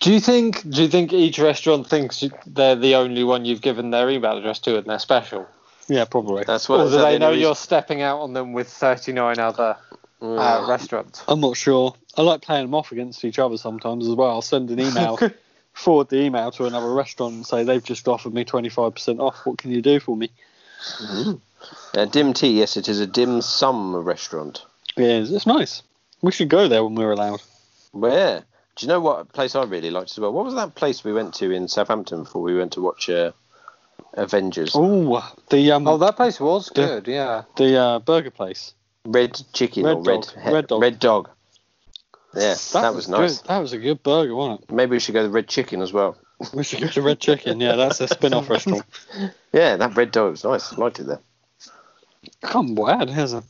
C: Do you think? Do you think each restaurant thinks you- they're the only one you've given their email address to, and they're special,
A: Yeah, probably.
B: That's what.
C: or do
B: that's
C: they
B: the
C: know
B: only
C: you're stepping out on them with thirty-nine other
B: reason-
C: uh,
B: Mm.
C: restaurants?
A: I'm not sure. I like playing them off against each other sometimes as well. I'll send an email, forward the email to another restaurant and say they've just offered me 25% off. What can you do for me?
B: Uh, dim tea. Yes, it is a dim sum restaurant.
A: Yeah, it's, it's nice. We should go there when we're allowed.
B: Where? Do you know what place I really liked as well? What was that place we went to in Southampton before we went to watch uh, Avengers?
A: Oh, the um,
C: Oh, that place was
A: Yeah.
C: good. Yeah.
A: the uh, burger place.
B: Red chicken
A: Red
B: or
A: dog.
B: red he-
A: Red dog.
B: Red dog. Yeah, that, was, nice.
A: Good. That was a good burger, wasn't
B: Maybe we should go to red chicken as well.
A: it? We should go to Red Chicken. Yeah, that's a spin-off restaurant.
B: Yeah, that red dog was nice. I liked it there.
A: Come on, here's a.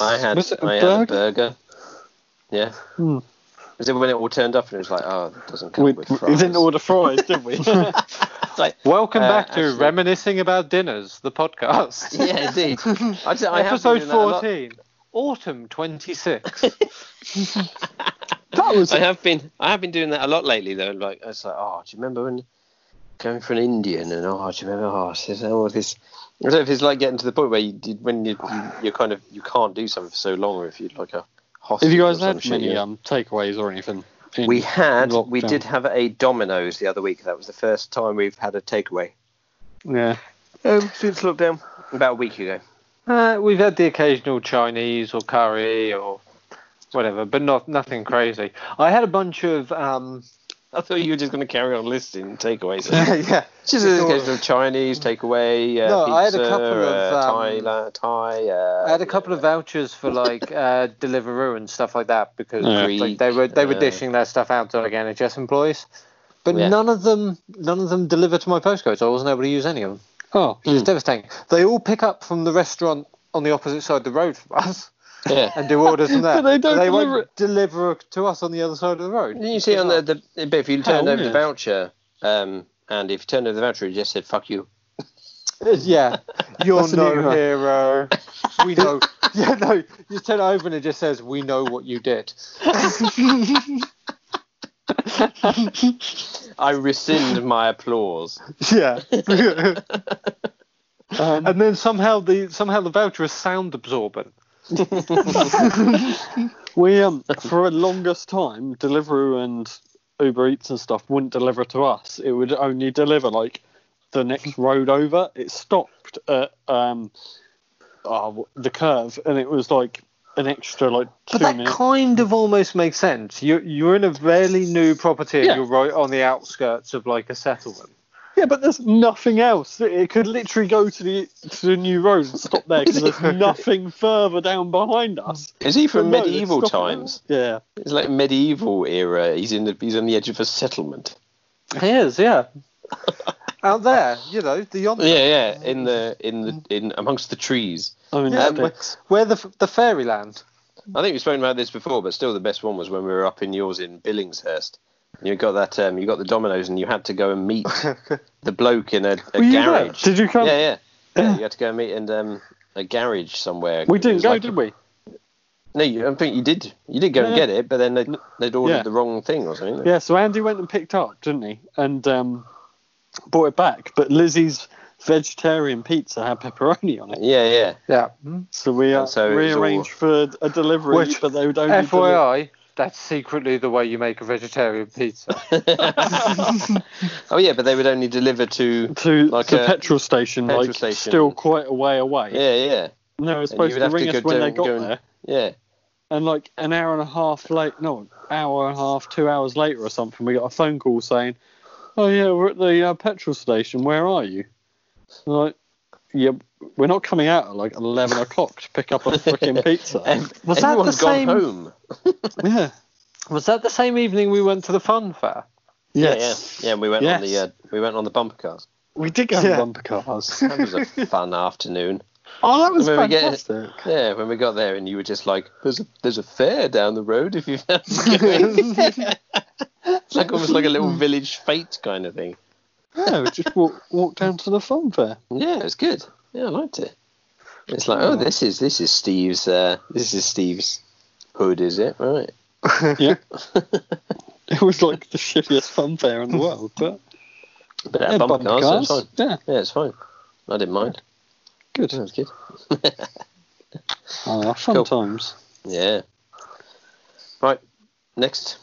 B: I had,
A: Was it a
B: I had a
A: burger?
B: burger. Yeah.
A: Hmm.
B: Was it when it all turned up and it was like, oh, it doesn't come
A: We,
B: with
A: we
B: fries?
A: didn't order fries, did we?
B: It's like,
C: Welcome
B: Uh,
C: back to
B: actually-
C: reminiscing about dinners, the podcast.
B: yeah, indeed. I just, I have been
C: Episode
B: doing that a lot.
C: fourteen, autumn twenty-six.
A: that was
B: I have been I have been doing that a lot lately though. Like it's like, oh, do you remember when going for an Indian and oh, do you remember oh, it's just all this. I don't know if it's like getting to the point where you did when you you- you're kind of you can't do something for so long, or if you're like a hostage.
A: Have you guys
B: or some
A: had
B: shit,
A: many
B: yeah.
A: um, takeaways or anything? in-
B: We had
A: lockdown?
B: we did have a Domino's the other week. That was the first time we've had a takeaway
A: Yeah.
B: um, since lockdown. About a week ago.
C: Uh, we've had the occasional Chinese or curry or whatever, but not nothing crazy. I had a bunch of um,
B: I thought you were just going to carry on listing takeaways.
C: yeah,
B: Just
C: It's
B: a
C: all-
B: case of Chinese takeaway. Uh,
C: No, I had a
B: pizza,
C: couple of,
B: uh,
C: um,
B: Thai, la- Thai. Uh,
C: I had a couple of vouchers for like uh, Deliveroo and stuff like that because
A: Yeah.
C: like, they were they were
B: Yeah.
C: dishing their stuff out to like NHS employees, but
B: Yeah.
C: none of them none of them deliver to my postcode, so I wasn't able to use any of them.
A: Oh,
C: It's devastating. They all pick up from the restaurant on the opposite side of the road from us
B: Yeah.
C: and do orders from there.
A: But they don't
C: they
A: deliver
C: won't deliver to us on the other side of the road.
B: You see on the, the but if you turned
A: How
B: over the
A: weird.
B: voucher, um, and if you turned over the voucher, it just said "fuck you."
C: yeah, you're
A: That's an
C: no
A: enigma.
C: hero. We know. yeah, no. You turn it over and it just says, "We know what you did."
B: I rescind my applause.
C: Yeah.
B: Um,
A: Um,
C: and then somehow the somehow the voucher is sound absorbent.
A: we um for a longest time, Deliveroo and Uber Eats and stuff wouldn't deliver to us. It would only deliver like the next road over. It stopped at um oh, the curve, and it was like an extra like two
C: But that
A: minutes.
C: kind of almost makes sense. You you're in a fairly new property.
A: Yeah.
C: You're right on the outskirts of like a settlement.
A: Yeah, but there's nothing else. It it could literally go to the to the new road and stop there because there's nothing further down behind us.
B: Is he from
A: No,
B: medieval
A: it's stopping
B: times?
A: there. Yeah.
B: It's like medieval era. He's in the he's on the edge of a settlement.
C: It is, yeah. Out there, you know, the yonder,
B: Yeah, yeah. In the in the in amongst the trees.
A: I mean,
C: Yeah,
A: um,
C: but- where the f- the fairyland.
B: I think we've spoken about this before, but still, the best one was when we were up in yours in Billingshurst. You got that. Um, you got the Dominoes, and you had to go and meet the bloke in a, a
A: were you there?
B: garage.
A: Did you come?
B: Yeah, yeah, yeah. You had to go and meet in um, a garage somewhere.
A: We
B: It
A: didn't
B: was
A: go,
B: like-
A: did we?
B: No, you, I don't think you did. You did go and
A: No, no.
B: get it, but then they'd, they'd ordered
A: Yeah.
B: the wrong thing or something.
A: Yeah. So Andy went and picked up, didn't he? And um, brought it back. But Lizzie's vegetarian pizza had pepperoni on it,
B: yeah, yeah.
C: Yeah.
A: so we uh,
B: And so it was
A: rearranged for a delivery,
C: Which,
A: but they would only. deli-
C: FYI, that's secretly the way you make a vegetarian pizza.
B: Oh, yeah, but they would only deliver to.
A: to
B: Like
A: the
B: a
A: petrol station,
B: petrol
A: like
B: station.
A: still quite a way away.
B: Yeah, yeah,
A: No, they were
B: would
A: supposed to
B: have to
A: ring
B: go
A: us when they
B: down-
A: got
B: go and-
A: there.
B: yeah.
A: And like an hour and a half late, no, hour and a half, two hours later or something, we got a phone call saying, "Oh yeah, we're at the uh, petrol station. Where are you?" And like, yeah, we're not coming out at like eleven o'clock to pick up a freaking pizza.
B: Ev-
C: Was that the
B: everyone's gone
C: same-
B: home.
A: yeah.
C: Was that the same evening we went to the fun fair?
A: Yes.
B: Yeah, yeah. Yeah, and we went on the
A: Yes.
B: uh, we went on the bumper cars.
A: We did go
C: Yeah.
A: to bumper cars.
B: That was a fun afternoon.
A: oh, that was
B: Where we get-
A: fantastic.
B: Yeah, when we got there and you were just like, "There's a there's a fair down the road if you fancy going." it's like almost like a little village fete kind of thing.
A: yeah, we just walk, walk down to the fun fair.
B: Yeah, it's good. Yeah, I liked it. It's like, oh, this is this is Steve's uh, this is Steve's hood, is it? Right.
A: Yeah. it was like the shittiest fun fair in the world, but
B: But our
A: yeah,
B: bumper, cars, so it's fine.
A: Yeah,
B: Yeah, it's fine. I didn't mind.
A: good.
B: That was good.
A: Ah, fun
B: Cool.
A: times.
B: Yeah. Right. Next.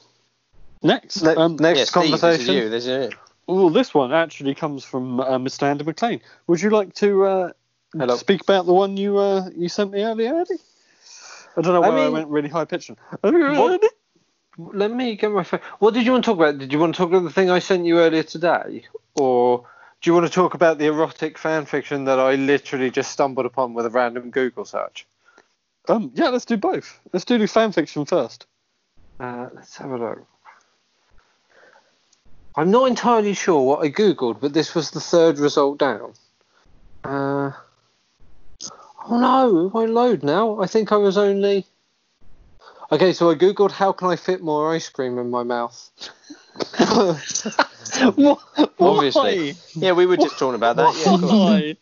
A: Next,
C: Ne-
A: um,
C: next
B: yeah, Steve,
C: conversation.
B: This is you. This is it.
A: well, this one actually comes from uh, Mr. Andy McLean. Would you like to uh,
C: Hello.
A: speak about the one you uh, you sent me earlier, Andy? I don't know
C: I
A: why I,
C: mean-
A: went really high pitched.
C: What? Let me get my phone. What did you want to talk about? Did you want to talk about the thing I sent you earlier today, or do you want to talk about the erotic fan fiction that I literally just stumbled upon with a random Google search?
A: Um, yeah, let's do both. Let's do the fan fiction first.
C: Uh, let's have a look. I'm not entirely sure what I googled, but this was the third result down. Uh, oh no, if I load now, I think I was only. Okay, so I googled how can I fit more ice cream in my mouth.
A: Why?
B: Obviously. Yeah, we were just talking about that. Yeah, of course.
A: Why?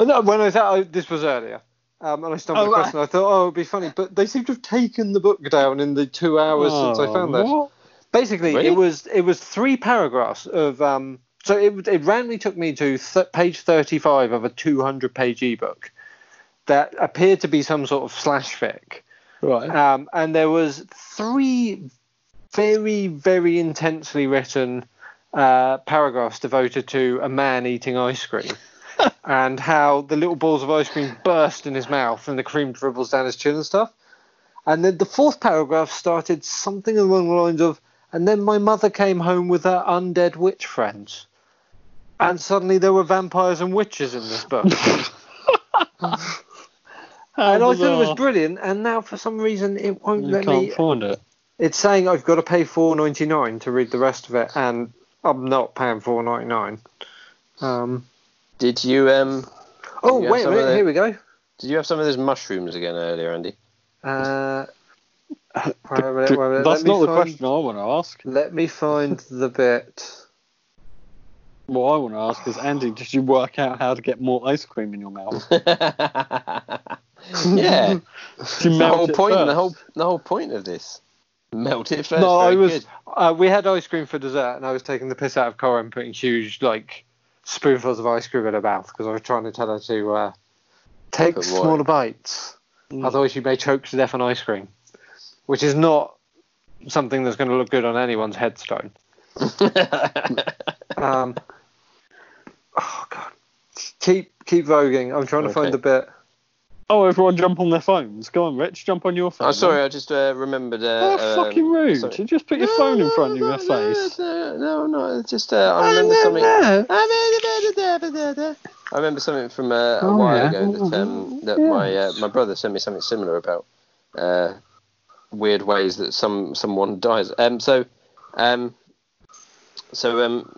C: Oh, no, when I thought I, this was earlier, um, and I stumbled
A: Oh,
C: across
A: right.
C: it, and I thought, oh, it'd be funny, but they seem to have taken the book down in the two hours since I found
A: Oh,
C: that.
A: what?
C: Basically,
B: Really?
C: it was it was three paragraphs of um. So it it randomly took me to th- page thirty five of a two hundred page ebook that appeared to be some sort of slash fic,
A: Right.
C: um, and there was three very very intensely written uh, paragraphs devoted to a man eating ice cream. and how the little balls of ice cream burst in his mouth and the cream dribbles down his chin and stuff. And then the fourth paragraph started something along the lines of, and then my mother came home with her undead witch friends. And suddenly there were vampires and witches in this book.
A: How
C: and I thought it
A: bizarre.
C: was brilliant. And now for some reason it won't
A: Oh. You
C: let
A: can't
C: me.
A: find it.
C: It's saying I've got to pay four ninety nine to read the rest of it, and I'm not paying four ninety nine. Um,
B: Did you um?
C: oh
B: Yeah,
C: wait a
B: some of
C: minute,
B: the-
C: here we go.
B: Did you have some of those mushrooms again earlier, Andy?
C: Uh, wait a minute, wait a
A: But
C: minute,
A: that's
C: let me
A: not the
C: find-
A: question I want to ask.
C: Let me find the bit.
A: What I want to ask is, Andy, did you work out how to get more ice cream in your mouth? Did
B: yeah.
A: you
B: the
A: melt
B: whole
A: it
B: point,
A: first?
B: the whole the whole point of this. Melt it first.
C: no, I
B: very
C: was.
B: good.
C: Uh, we had ice cream for dessert, and I was taking the piss out of Cora and putting huge like spoonfuls of ice cream in her mouth because I was trying to tell her to uh, take
B: Good boy.
C: smaller bites,
A: Mm.
C: otherwise you may choke to death on ice cream, which is not something that's going to look good on anyone's headstone. Um, oh god, keep keep voguing. I'm trying to
B: Okay.
C: find the bit.
A: Oh, everyone jump on their phones. Go on, Rich, jump on your phone.
B: I'm Oh, sorry, I just uh, remembered. Uh,
A: That's fucking rude.
B: sorry.
A: You just put your phone in front of your face.
B: No, no, no, it's just uh, I remember something. I remember something from uh, a
C: Oh,
B: while
C: yeah.
B: ago that um, that my uh, my brother sent me something similar about uh, weird ways that some someone dies. Um, so, um, so um,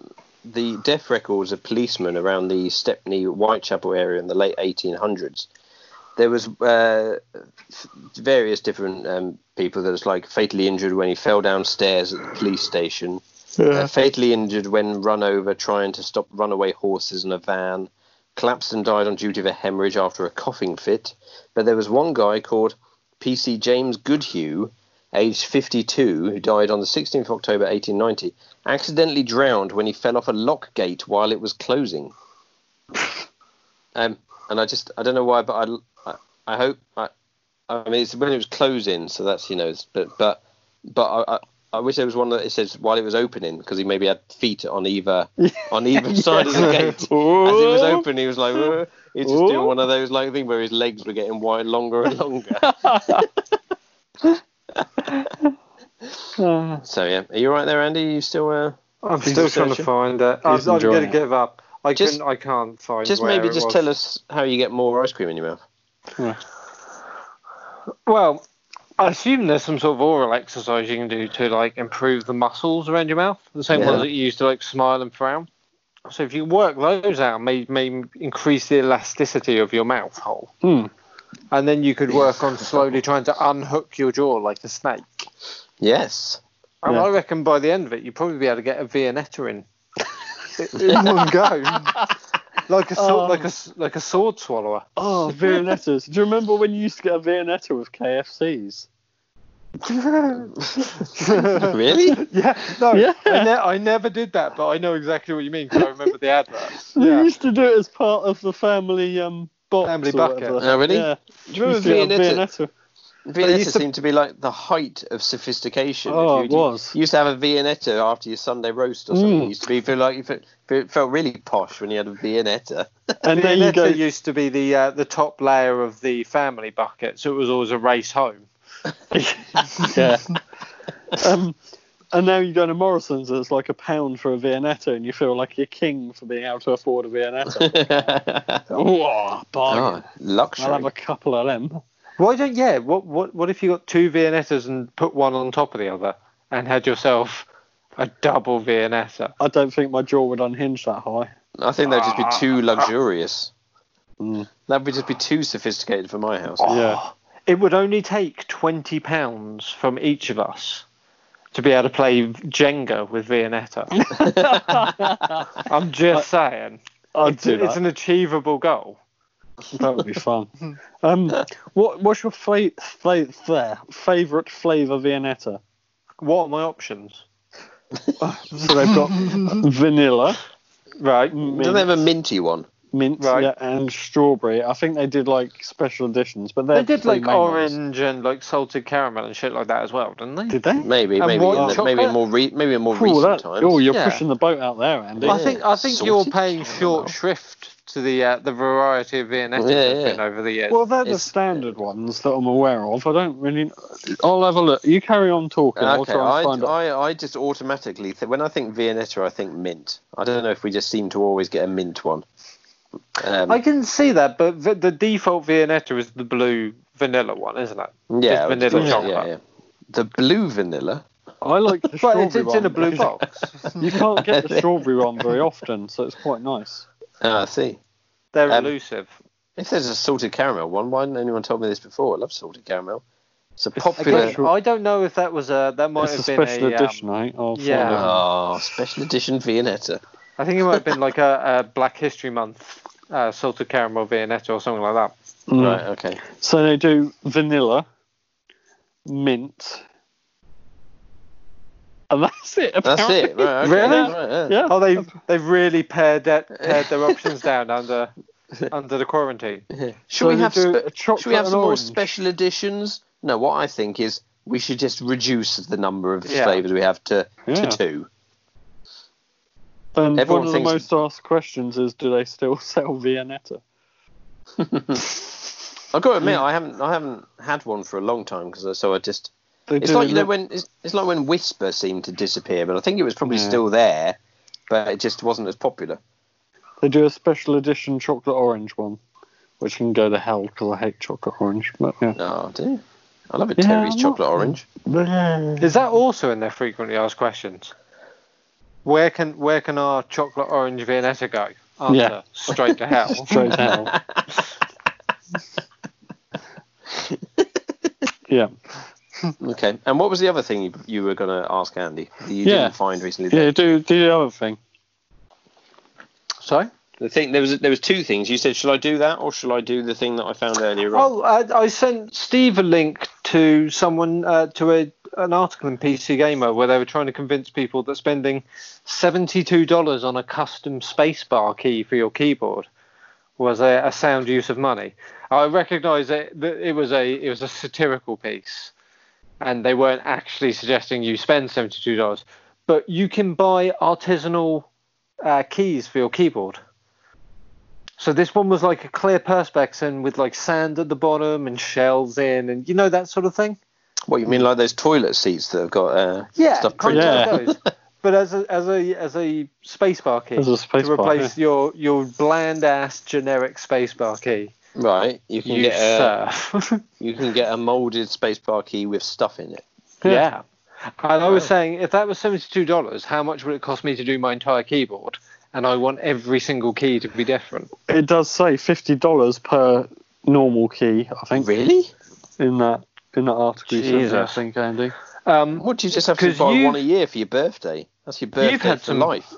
B: the death records of policemen around the Stepney Whitechapel area in the late 1800s. There was uh, f- various different um, people that was like fatally injured when he fell downstairs at the police station uh, fatally injured when run over trying to stop runaway horses in a van, collapsed and died on duty of a hemorrhage after a coughing fit. But there was one guy called PC James Goodhue, aged 52, who died on the 16th of October 1890, accidentally drowned when he fell off a lock gate while it was closing. Um, and I just I don't know why, but I I, I hope I. I mean, it's when it was closing, so that's you know, it's- but but but I, I I wish there was one that it says while it was opening because he maybe had feet on either on either side of the gate. As it was open, he was like "Uh," he was just doing
A: Oh.
B: one of those like thing where his legs were getting wide longer and longer.
A: Uh,
B: so yeah, are you all right there, Andy? you still uh,
C: I'm
B: He's
C: still trying to
B: researching.
C: find it. I'm, I'm
A: He's enjoying
C: going to
A: it.
C: give up. I
B: Just-
C: couldn't. I can't find.
B: just
C: where
B: maybe
C: it
B: just
C: was.
B: tell us how you get more ice cream in your mouth.
C: Well, I assume there's some sort of oral exercise you can do to like improve the muscles around your mouth, the same
B: Yeah.
C: ones that you use to like smile and frown. So if you work those out, may may increase the elasticity of your mouth hole,
A: hmm.
C: and then you could work on slowly trying to unhook your jaw like a snake.
B: Yes.
C: And
A: Yeah.
C: I reckon by the end of it, you'd probably be able to get a Viennetta in in one go, like a sor-
A: Oh.
C: like a s- like a sword swallower.
A: Oh, Viennettas. Do you remember when you used to get a Viennetta with KFCs?
B: really?
C: Yeah, no,
A: Yeah.
C: I, ne- I never did that, but I know exactly what you mean 'cause I remember the adverts.
A: You
C: Yeah.
A: used to do it as part of the family um box.
C: Family
A: or
C: bucket.
A: whatever.
B: Oh, really?
A: Yeah.
B: Do you remember
A: Used to get a
B: Viennetta?
A: Viennetta?
C: They
B: Viennetta
C: used to-
B: seemed to be like the height of sophistication.
A: Oh,
B: If
A: it
B: you-
A: was.
B: You used to have a Viennetta after your Sunday roast or something.
A: Mm.
B: It used to be feel like you fe- feel, felt really posh when you had a Viennetta.
A: And there you
C: Viennetta
A: go.
C: used to be the uh, the top layer of the family bucket, so it was always a race home.
A: yeah. Um, and now you go to Morrison's, it's like a pound for a Viennetta, and you feel like you're king for being able to afford a Viennetta. oh, bargain.
B: oh, luxury.
A: I'll have a couple of them.
C: Why don't yeah? What what what if you got two Viennettas and put one on top of the other and had yourself a double Viennetta?
A: I don't think my jaw would unhinge that high.
B: I think that'd just be too luxurious.
A: Mm.
B: That would just be too sophisticated for my house.
A: Yeah.
C: It would only take twenty pounds from each of us to be able to play Jenga with Viennetta. I'm just saying.
A: I'd
C: it's,
A: do
C: it's
A: that.
C: an achievable goal.
A: That would be fun. Um, what what's your fa- fa- fa- favorite flavor Viennetta?
C: What are my options?
A: So they've got vanilla,
C: Right.
B: Do
A: mint, Mm,
B: they have a minty one?
A: mint
C: Right.
A: yeah, and strawberry. I think they did like special editions, but
C: They
A: they're
C: did
A: three
C: like
A: main ones.
C: orange and like salted caramel and shit like that as well, didn't they?
A: Did they?
B: Maybe,
C: And
B: maybe,
C: white
B: in the, maybe
C: chocolate?
B: in more re- maybe in more
A: Ooh,
B: recent
A: that-
B: times.
A: oh, you're
C: Yeah.
A: pushing the boat out there, Andy.
C: I
B: Yeah.
C: think I think you're
B: Salted
C: paying
B: caramel.
C: short shrift to the uh, the variety of Viennettes
B: Yeah,
C: that's
B: yeah.
C: been over the years.
A: Well, they're the
B: It's-
A: standard ones that I'm aware of. I don't really. I'll have a look. You carry on talking. I'll
B: Ah, Okay,
A: try
B: I,
A: and find out.
B: I, I just automatically th- when I think Viennetta, I think mint. I don't know if we just seem to always get a mint one. Um,
C: I can see that, but the, the default Viennetta is the blue vanilla one, isn't it?
B: yeah,
C: just vanilla chocolate.
B: The blue vanilla.
A: I like the
C: But
A: strawberry
C: it's, it's
A: one.
C: in a blue
A: because
C: box.
A: You can't get the strawberry one very often, so it's quite nice.
B: Ah, I see.
C: They're
B: Um,
C: elusive.
B: If there's a salted caramel one, why hasn't anyone told me this before? I love salted caramel. It's a popular.
C: Again, I don't know if that was a that might
A: it's a
C: have been
A: special
C: a. um,
A: edition, right? I'll find
C: yeah.
A: out.
B: Oh, special edition Viennetta.
C: I think it might have been like a, a Black History Month uh, salted caramel Viennetta or something like that.
A: Mm.
B: Right. Okay.
A: So they do vanilla, mint, and that's it.
B: That's
A: apparently.
B: it. Right, okay.
C: Really?
B: Right, yeah.
A: Yeah.
C: Oh, they've they've really pared that pared their options down under under the quarantine.
B: Should
A: So
B: we
A: they
B: have
A: do
B: spe-
A: a chocolate
B: should we have
A: and
B: some more
A: orange?
B: special editions? No, what I think is we should just reduce the number of
C: Yeah.
B: flavors we have to,
A: Yeah.
B: to two.
A: And
B: Everyone
A: one of the
B: thinks-
A: most asked questions is, do they still sell Viennetta?
B: I've got to
A: Mm.
B: admit, I haven't I haven't had one for a long time because so I just
A: They
B: it's
A: do
B: like you know
A: look-
B: when it's, it's like when Whisper seemed to disappear, but I think it was probably
A: Yeah.
B: still there, but it just wasn't as popular.
A: They do a special edition chocolate orange one, which can go to hell because I hate chocolate orange. But yeah,
B: Oh, do you? I love a
A: Yeah,
B: Terry's
A: I'm
B: chocolate
A: not-
B: orange.
C: Is that also in their frequently asked questions? Where can where can our chocolate orange Viennetta go? Answer,
A: Yeah.
C: straight to hell.
A: straight to hell. yeah,
B: Okay. And what was the other thing you, you were going to ask Andy that you
A: Yeah.
B: didn't find recently?
A: yeah. Do do the other thing.
C: Sorry.
B: The thing there was there was two things. You said, "Shall I do that, or shall I do the thing that I found earlier on?"
C: Oh, I, I sent Steve a link to someone uh, to a an article in PC Gamer where they were trying to convince people that spending seventy two dollars on a custom spacebar key for your keyboard was a, a sound use of money. I recognise that that it was a it was a satirical piece, and they weren't actually suggesting you spend seventy two dollars, but you can buy artisanal uh, keys for your keyboard. So this one was like a clear perspex and with like sand at the bottom and shells in and you know that sort of thing.
B: What you mean, like those toilet seats that have got uh,
C: Yeah,
B: stuff
C: kind
B: printed?
A: Yeah.
C: of like those. But as a as a as a spacebar key
A: As a spacebar,
C: to replace your your bland ass generic spacebar key,
B: Right, you can
C: you
B: get a,
C: surf.
B: you can get a molded spacebar key with stuff in it.
C: yeah. And I was saying, if that was seventy-two dollars, how much would it cost me to do my entire keyboard? And I want every single key to be different.
A: It does say fifty dollars per normal key. I think
B: Really?
A: in that in that article. you sent me,
C: Jesus.
A: I think Andy.
C: Um,
B: What do you just have to
C: 'Cause
B: buy
C: you've-
B: one a year for your birthday? That's your birthday
C: You've had
B: for
C: some-
B: life.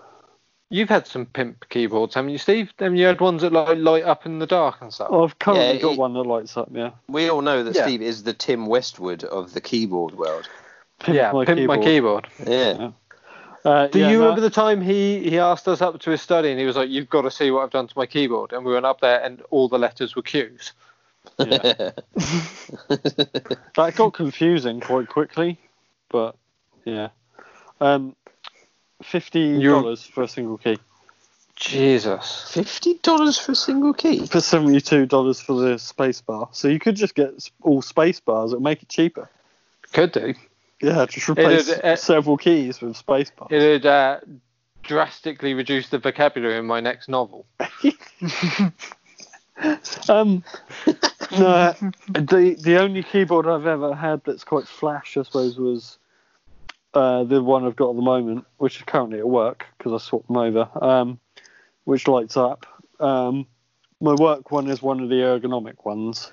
C: You've had some pimp keyboards, haven't you, Steve? Then you had ones that like light up in the dark and stuff.
A: I've currently
B: Yeah,
A: got
B: it-
A: one that lights up. Yeah,
B: We all know that
C: Yeah.
B: Steve is the Tim Westwood of the keyboard world.
C: yeah,
A: my
C: pimp my
A: keyboard.
C: keyboard.
B: Yeah.
A: Uh,
C: Do
A: yeah,
C: you
A: no,
C: remember the time he he asked us up to his study and he was like, "You've got to see what I've done to my keyboard," and we went up there and all the letters were Q's.
A: yeah. that got confusing quite quickly, but yeah, um, fifty dollars for a single key.
C: Jesus.
B: Fifty dollars for a single key.
A: for seventy two dollars for the space bar. So you could just get s- all space bars. It'll make it cheaper.
C: Could do.
A: Yeah, just replace
C: It'd, uh,
A: several keys with space bar.
C: It'd uh, drastically reduce the vocabulary in my next novel.
A: Um, no, the the only keyboard I've ever had that's quite flash, I suppose, was uh, the one I've got at the moment, which is currently at work because I swapped them over. Um, which lights up. Um, my work one is one of the ergonomic ones,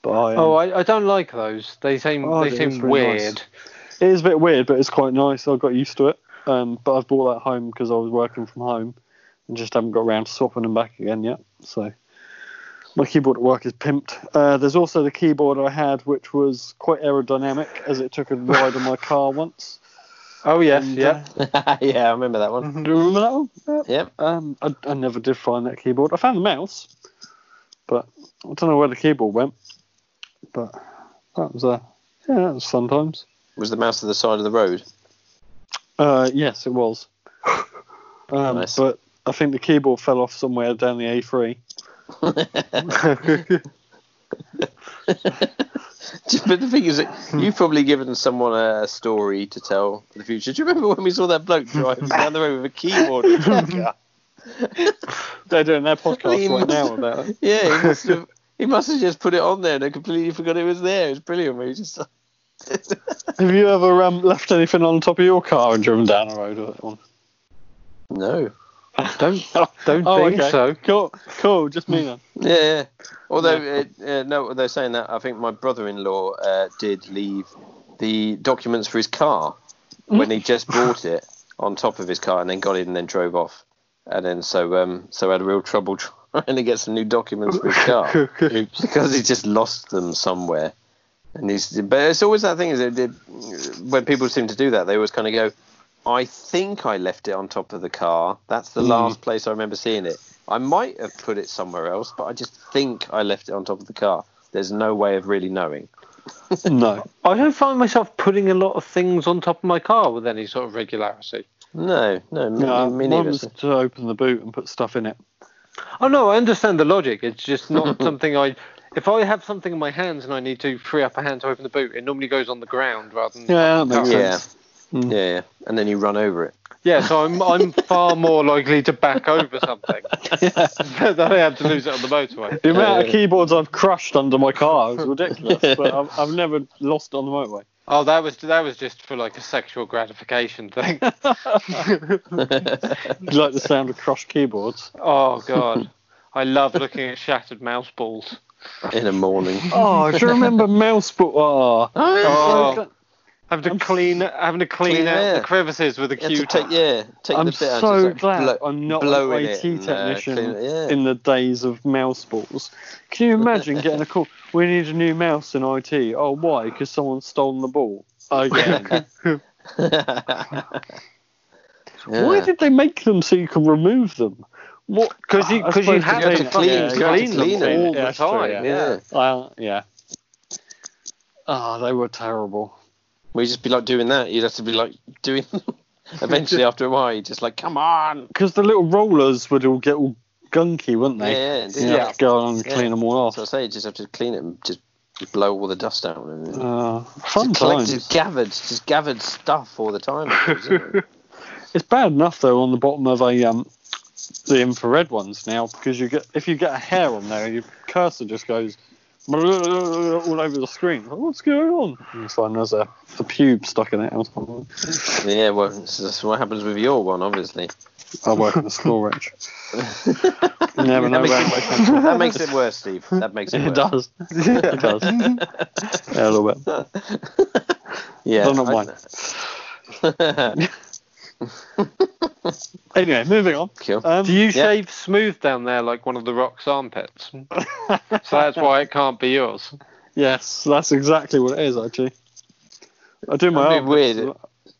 A: but I, um,
C: Oh, I, I don't like those. They seem
A: Oh,
C: they
A: they're
C: seem
A: really nice.
C: weird.
A: It is a bit weird, but it's quite nice. I got used to it. Um, but I've bought that home because I was working from home and just haven't got around to swapping them back again yet. So my keyboard at work is pimped. Uh, there's also the keyboard I had, which was quite aerodynamic as it took a ride on my car once.
C: Oh yes,
A: And,
C: yeah.
B: yeah, I remember that
C: Mm-hmm.
B: one.
A: Do you remember that one? Yeah.
B: Yep.
A: Um, I, I never did find that keyboard. I found the mouse, but I don't know where the keyboard went. But that was a yeah, that was fun times.
B: Was the mouse at the side of the road?
A: Uh, yes, it was. Um,
B: Nice.
A: But I think the keyboard fell off somewhere down the A3.
B: but the thing is, that you've probably given someone a story to tell for the future. Do you remember when we saw that bloke driving down the road with a keyboard? in his car?
A: They're doing their podcast
B: Clean.
A: right now about it.
B: yeah, he must, have, he must have just put it on there and I completely forgot it was there. It was brilliant. We just
A: Have you ever um, left anything on top of your car and driven down a road with it on?
B: no.
C: Don't don't
A: uh, Oh,
C: think
A: okay.
C: so.
A: Cool, cool. Just me then.
B: Yeah, yeah. Although, Uh, uh, no, although saying that, I think my brother-in-law uh, did leave the documents for his car when he just bought it on top of his car, and then got in and then drove off, and then so um so had real trouble trying to get some new documents for his car
A: Oops.
B: because he just lost them somewhere. And he's, but it's always that thing is that it- when people seem to do that, they always kind of go, "I think I left it on top of the car. That's
A: Hmm.
B: the last place I remember seeing it. I might have put it somewhere else, but I just think I left it on top of the car. There's no way of really knowing."
A: No.
C: I don't find myself putting a lot of things on top of my car with any sort of regularity.
B: No, no, me,
A: No,
B: me
A: mine
B: neither.
A: was to open the boot and put stuff in it.
C: Oh no, I understand the logic. It's just not something I. If I have something in my hands and I need to free up a hand to open the boot, it normally goes on the ground rather than.
A: Yeah, that makes
B: yeah,
A: sense.
B: yeah, yeah, and then you run over it.
C: Yeah, so I'm I'm far more likely to back over something than I am to lose it on the motorway.
A: The amount of
B: Uh,
A: keyboards I've crushed under my car is ridiculous, but I've, I've never lost on the motorway.
C: Oh, that was that was just for like a sexual gratification thing.
A: Do you like the sound of crushed keyboards?
C: Oh god, I love looking at shattered mouse balls.
B: in the morning.
A: Oh, do you remember mouse boot? Oh,
C: Oh, having to clean having to clean,
B: Clean
C: out
B: air.
C: the crevices with a
B: You had to
C: Q-tip.
B: take, yeah, take
A: I'm
B: the bit out,
A: so
B: just, like,
A: glad
B: blow-
A: I'm not
B: blow
A: an
B: in
A: IT
B: it and, uh,
A: technician
B: clean it, yeah.
A: in the days of mouse balls. Can you imagine getting a call? We need a new mouse in IT. Oh, why? Because someone's stolen the ball. Oh, Again. Why
B: Yeah.
A: did they make them so you can remove them? What?
C: Because you,
A: I
C: cause you
A: suppose
C: have
A: you
C: to
A: have to
C: fucking
A: clean- you have to
C: clean them
B: clean it.
C: all
A: Yeah,
C: the
A: that's true,
C: time.
A: yeah.
B: yeah.
A: Well, yeah. Oh, they were terrible.
B: We'd just be like doing that. You'd have to be like doing. Eventually, after a while, you're just like, come on.
A: Because the little rollers would all get all gunky, wouldn't they?
B: Yeah, yeah,
A: You have to go on and
B: Yeah.
A: clean them all
B: So I
A: off.
B: say, you just have to clean it and just blow all the dust out. And just
A: Uh, fun
B: collect-
A: times.
B: just gathered, just gathered stuff all the time. I suppose, isn't it?
A: It's bad enough though on the bottom of a um, the infrared ones now because you get if you get a hair on there, your cursor just goes all over the screen. Like, What's going on? And it's like there's a, a pube stuck in it. or something.
B: yeah, well, this is what happens with your one, obviously.
A: I work in the school, Rich. You never know.
B: That makes,
A: where-
B: it, that makes it worse, Steve. That makes it
A: It does.
B: worse.
A: It does. yeah, a little bit.
B: Yeah.
A: They're not mine. Anyway, moving on.
B: Cool.
A: Um,
C: Do you
B: Yeah.
C: shave smooth down there like one of the Rock's armpits? so that's why it can't be yours.
A: yes, that's exactly what it is actually. I do my
B: That'd be
A: own. bits.
B: weird.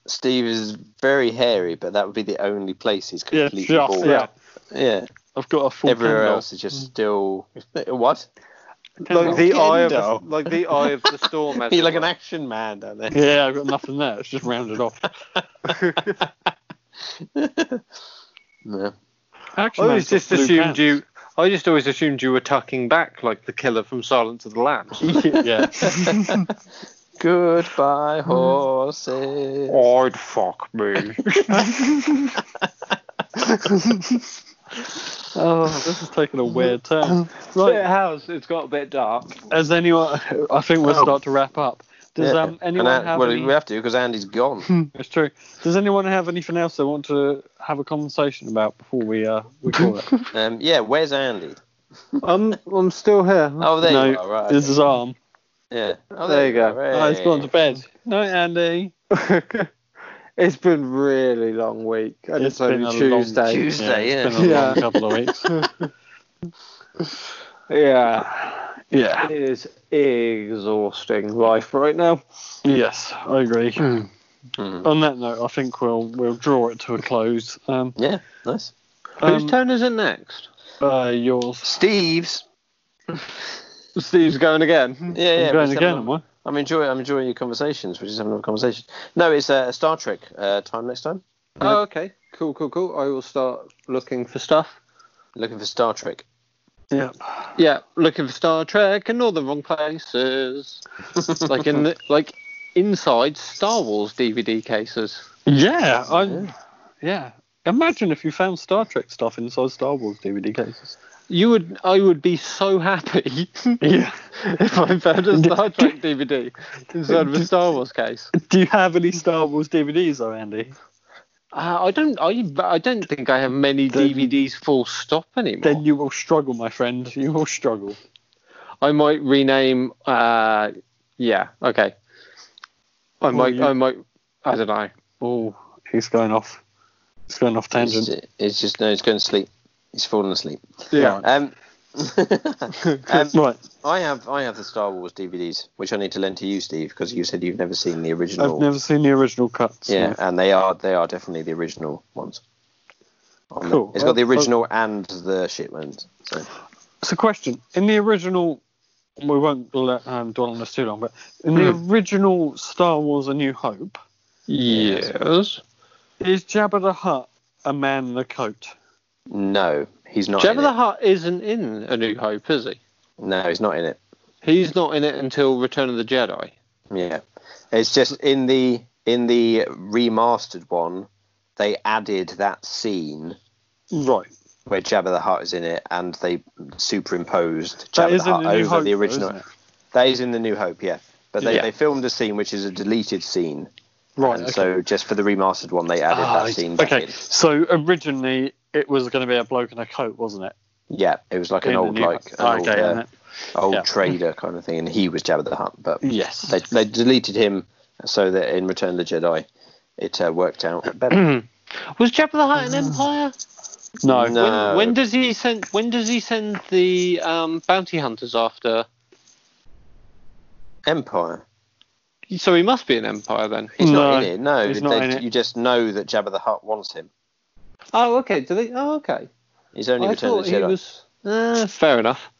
B: Steve is very hairy, but that would be the only place he's
A: Yeah,
B: completely
A: just,
B: bald.
A: yeah.
B: Yeah.
A: I've got a full Mm.
B: Everywhere
A: Kendall.
B: else is just still what?
C: Like the eye of the,
B: Kendall.
C: like the eye of the storm. as
B: You're
C: it
B: like an
C: were.
B: action man down there.
A: Yeah, I've got nothing there. It's just rounded off.
B: No.
A: Actually,
C: I always Oh, just assumed you. I just always assumed you were tucking back like the killer from Silence of the Lambs.
A: yeah.
B: Goodbye horses.
C: I'd fuck me.
A: Oh, this is taking a weird turn.
C: It
A: Right,
C: has. It's got a bit dark.
A: as anyone, I think we'll start to wrap up. Does
B: Oh. Yeah.
A: um,
B: And
A: anyone
B: An-
A: have
B: well,
A: any?
B: we have to because Andy's gone.
A: It's true. Does anyone have anything else they want to have a conversation about before we uh we call it?
B: um, yeah, where's Andy?
C: I'm I'm still here.
B: Oh, there
A: no,
B: you are. Right.
A: this is arm.
B: Yeah. Oh,
C: There you go.
B: are,
A: Oh, he's
B: hey.
A: gone to bed. No, Andy.
C: Oh. it's been really long week. And
A: It's
C: it's,
A: been
C: only
A: a long
C: Tuesday.
B: Tuesday,
A: it's
B: yeah.
A: been a
C: Yeah.
A: long couple of weeks.
C: Yeah.
A: yeah.
C: It is exhausting life right now.
A: Yes, I agree.
B: Hmm.
A: On that note, I think we'll we'll draw it to a close. Um,
B: Yeah, nice.
C: Whose
A: um,
C: turn is it next?
A: uh, yours,
B: Steve's.
C: Steve's going again.
B: Yeah, yeah.
A: I'm
B: we're
A: going
B: just
A: again,
B: having-
A: am I?
B: I'm enjoying. I'm enjoying your conversations. We're just having a conversation. No, it's uh, Star Trek uh, time next time.
C: Oh,
D: okay. Cool, cool, cool.
C: I will start looking for stuff.
B: Looking for Star Trek.
A: Yeah.
C: Yeah, looking for Star Trek in all the wrong places. like in the, like inside Star Wars DVD cases.
A: Yeah. I. yeah. Imagine if you found Star Trek stuff inside Star Wars DVD cases.
C: You would, I would be so happy
A: Yeah.
C: if I found a Star Trek DVD inside of a Star Wars case.
A: Do you have any Star Wars DVDs, though, Andy?
C: Uh, I don't, I, I don't think I have many
A: Then-
C: DVDs full stop anymore.
A: Then you will struggle, my friend. You will struggle.
C: I might rename. Uh, yeah, okay. I might,
A: you-
C: I might, I don't know.
A: Oh, he's going off. He's going off
B: It's,
A: tangent.
B: just- it's just no. It's going to sleep. He's fallen asleep.
C: Yeah.
B: Um, um,
A: Right.
B: I have I have the Star Wars DVDs, which I need to lend to you, Steve, because you said you've never seen the original.
A: I've never seen the original cuts.
B: yeah,
A: no.
B: and they are they are definitely the original ones. On the-
A: Cool.
B: it's got the
A: Well,
B: original and the shit ones. So.
A: So, question: In the original, we won't let um, dwell on this too long, but in the
B: Hmm.
A: original Star Wars: A New Hope,
C: Yes.
A: is Jabba the Hutt a man in a coat?
B: No, he's not.
C: Jabba
B: in
C: the
B: it.
C: Hutt isn't in A New Hope, is he?
B: No, he's not in it.
C: He's not in it until Return of the Jedi.
B: Yeah, it's just in the in the remastered one, they added that scene
A: Right.
B: where Jabba the Hutt is in it, and they superimposed
A: That
B: Jabba
A: is
B: the
A: in
B: Hutt
A: the New
B: over
A: Hope,
B: the
A: though,
B: original.
A: isn't it?
B: that is in the New Hope, yeah. But they,
C: Yeah.
B: they filmed a scene which is a deleted scene,
A: Right.
B: and
A: okay.
B: so just for the remastered one, they added
A: Ah,
B: that scene. Back
A: okay.
B: in.
A: So originally it was going to be a bloke in a coat, wasn't it?
B: Yeah, it was like
A: In
B: an
A: the
B: old
A: New Hope. Ah,
B: like an old,
A: okay.
B: uh,
A: and it-
B: old
A: yeah.
B: trader kind of thing, and he was Jabba the Hutt, but
A: yes.
B: they, they deleted him so that in Return of the Jedi, it uh, worked out better.
C: Was Jabba the Hutt in Empire?
A: no.
B: No.
C: When, when does he send? When does he send the um, bounty hunters after?
B: Empire.
C: So he must be an Empire then.
B: He's
A: No,
B: not in it. No,
A: he's not
B: they-
A: in it.
B: you just know that Jabba the Hutt wants him.
C: Oh, okay. Do they? Oh, okay.
B: He's only
C: I
B: Return of
C: thought
B: the
C: he
B: Jedi.
C: was. Uh, fair enough.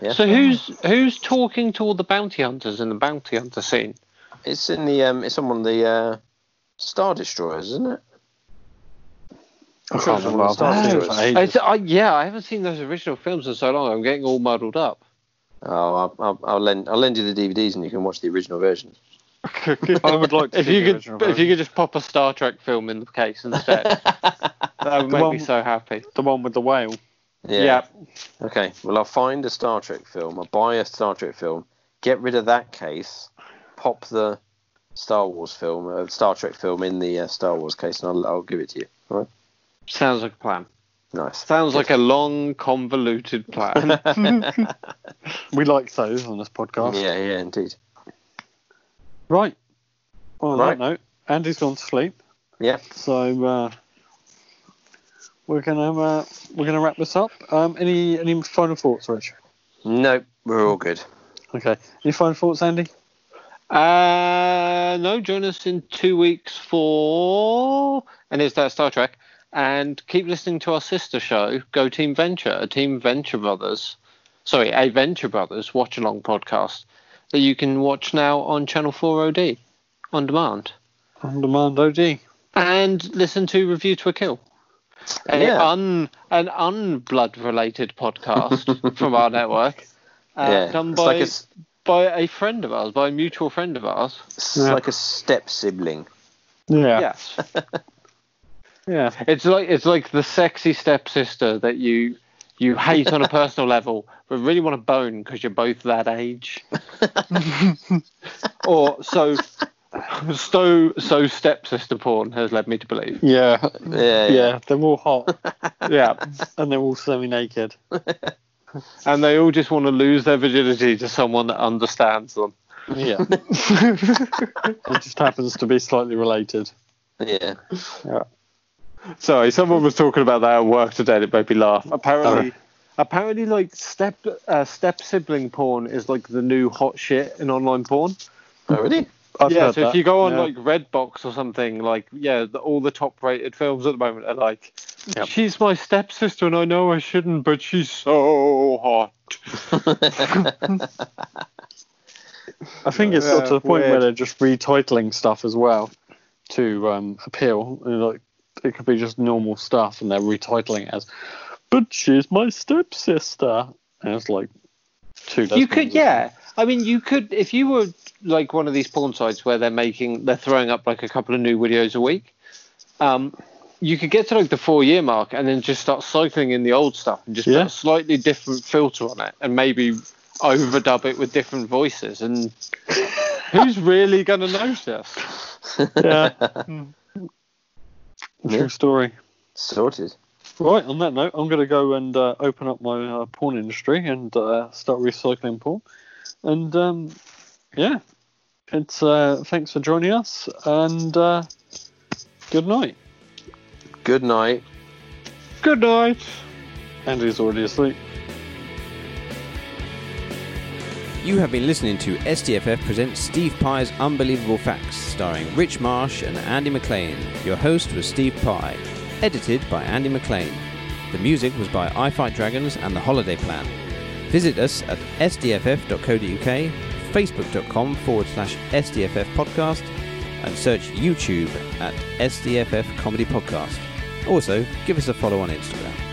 B: Yeah.
C: So who's who's talking to all the bounty hunters in the bounty hunter scene?
B: It's in the um, it's on one of the uh, Star Destroyers, isn't it?
A: I can't
B: sure it's on
A: remember.
B: the Star
A: I've seen it
B: Destroyers.
A: for ages.
C: It's- I, yeah, I haven't seen those original films in so long. I'm getting all muddled up.
B: Oh, I'll, I'll, I'll lend I'll lend you the DVDs and you can watch the original version.
A: I would like to
C: If
A: see the
C: you
A: original
C: could, if you
A: version.
C: could just pop a Star Trek film in the case instead, that would
A: The
C: make
A: one-
C: me so happy.
A: the one with the whale.
B: Yeah. Okay. Well, I'll find a Star Trek film. I'll buy a Star Trek film. Get rid of that case. Pop the Star Wars film, uh, Star Trek film in the uh, Star Wars case, and I'll, I'll give it to you. All right.
C: Sounds like a plan.
B: Nice.
C: Sounds like a long, convoluted plan.
A: We like those on this podcast.
B: Yeah. Yeah. Indeed.
A: Right. Well, on that
B: Right.
A: note, Andy's gone to sleep,
B: Yeah.
A: so uh, we're gonna uh, we're gonna wrap this up. Um, any any final thoughts, Rich?
B: Nope. We're all good.
A: Okay. Any final thoughts, Andy?
C: uh, no, join us in two weeks for and is that Star Trek? And keep listening to our sister show, Go Team Venture, a Team Venture Brothers, sorry, a Venture Brothers watch along podcast that you can watch now on Channel Four OD on demand.
A: On demand OD.
C: and listen to Review to a Kill. A
B: Yeah.
C: un, an unblood related podcast from our network. Uh,
B: yeah.
C: Done
B: it's
C: by,
B: like a,
C: a...
B: s-
C: by a friend of ours, by a mutual friend of ours.
B: it's
A: Yeah.
B: like a step sibling.
A: Yeah.
C: Yes.
A: Yeah.
C: it's like it's like the sexy stepsister that you you hate on a personal level, but really want to bone because you're both that age. or so so so stepsister porn has led me to believe.
A: Yeah.
B: Yeah.
A: Yeah. They're all hot. yeah. And they're all semi-naked.
C: And they all just want to lose their virginity to someone that understands them.
A: Yeah. it just happens to be slightly related.
B: Yeah.
C: Sorry, someone was talking about that at work today. and It made me laugh. Apparently, apparently, like step uh, step sibling porn is like the new hot shit in online porn.
B: Oh, really? I've
C: yeah,
B: heard
C: so if
B: that.
C: you go on
B: Yeah.
C: like Redbox or something, like yeah, the, all the top-rated films at the moment are like,
B: Yep.
C: she's my stepsister and I know I shouldn't, but she's so hot.
A: I think it's got to the point where they're just retitling stuff as well to um, appeal. And, like, it could be just normal stuff, and they're retitling it as, "But she's my stepsister," and it's like two.
C: you
A: Desmonds
C: could,
A: or
C: yeah. I mean, you could if you were like one of these porn sites where they're making, they're throwing up like a couple of new videos a week. Um, you could get to like the four-year mark and then just start cycling in the old stuff and just
A: Yeah.
C: put a slightly different filter on it and maybe overdub it with different voices. And who's really gonna notice?
A: something. yeah. Hmm.
B: Yeah.
A: True story.
B: Sorted.
A: Right, on that note, I'm going to go and uh, open up my uh, porn industry and uh, start recycling porn. And um, yeah, it's uh, thanks for joining us, and uh, good night.
B: Good night.
C: Good night.
A: Andy's already asleep.
E: You have been listening to SDFF presents Steve Pye's Unbelievable Facts, starring Rich Marsh and Andy McLean. Your host was Steve Pye, edited by Andy McLean. The music was by I Fight Dragons and The Holiday Plan. Visit us at sdff.co.uk, facebook.com forward slash SDFF podcast, and search YouTube at SDFF Comedy Podcast. Also, give us a follow on Instagram.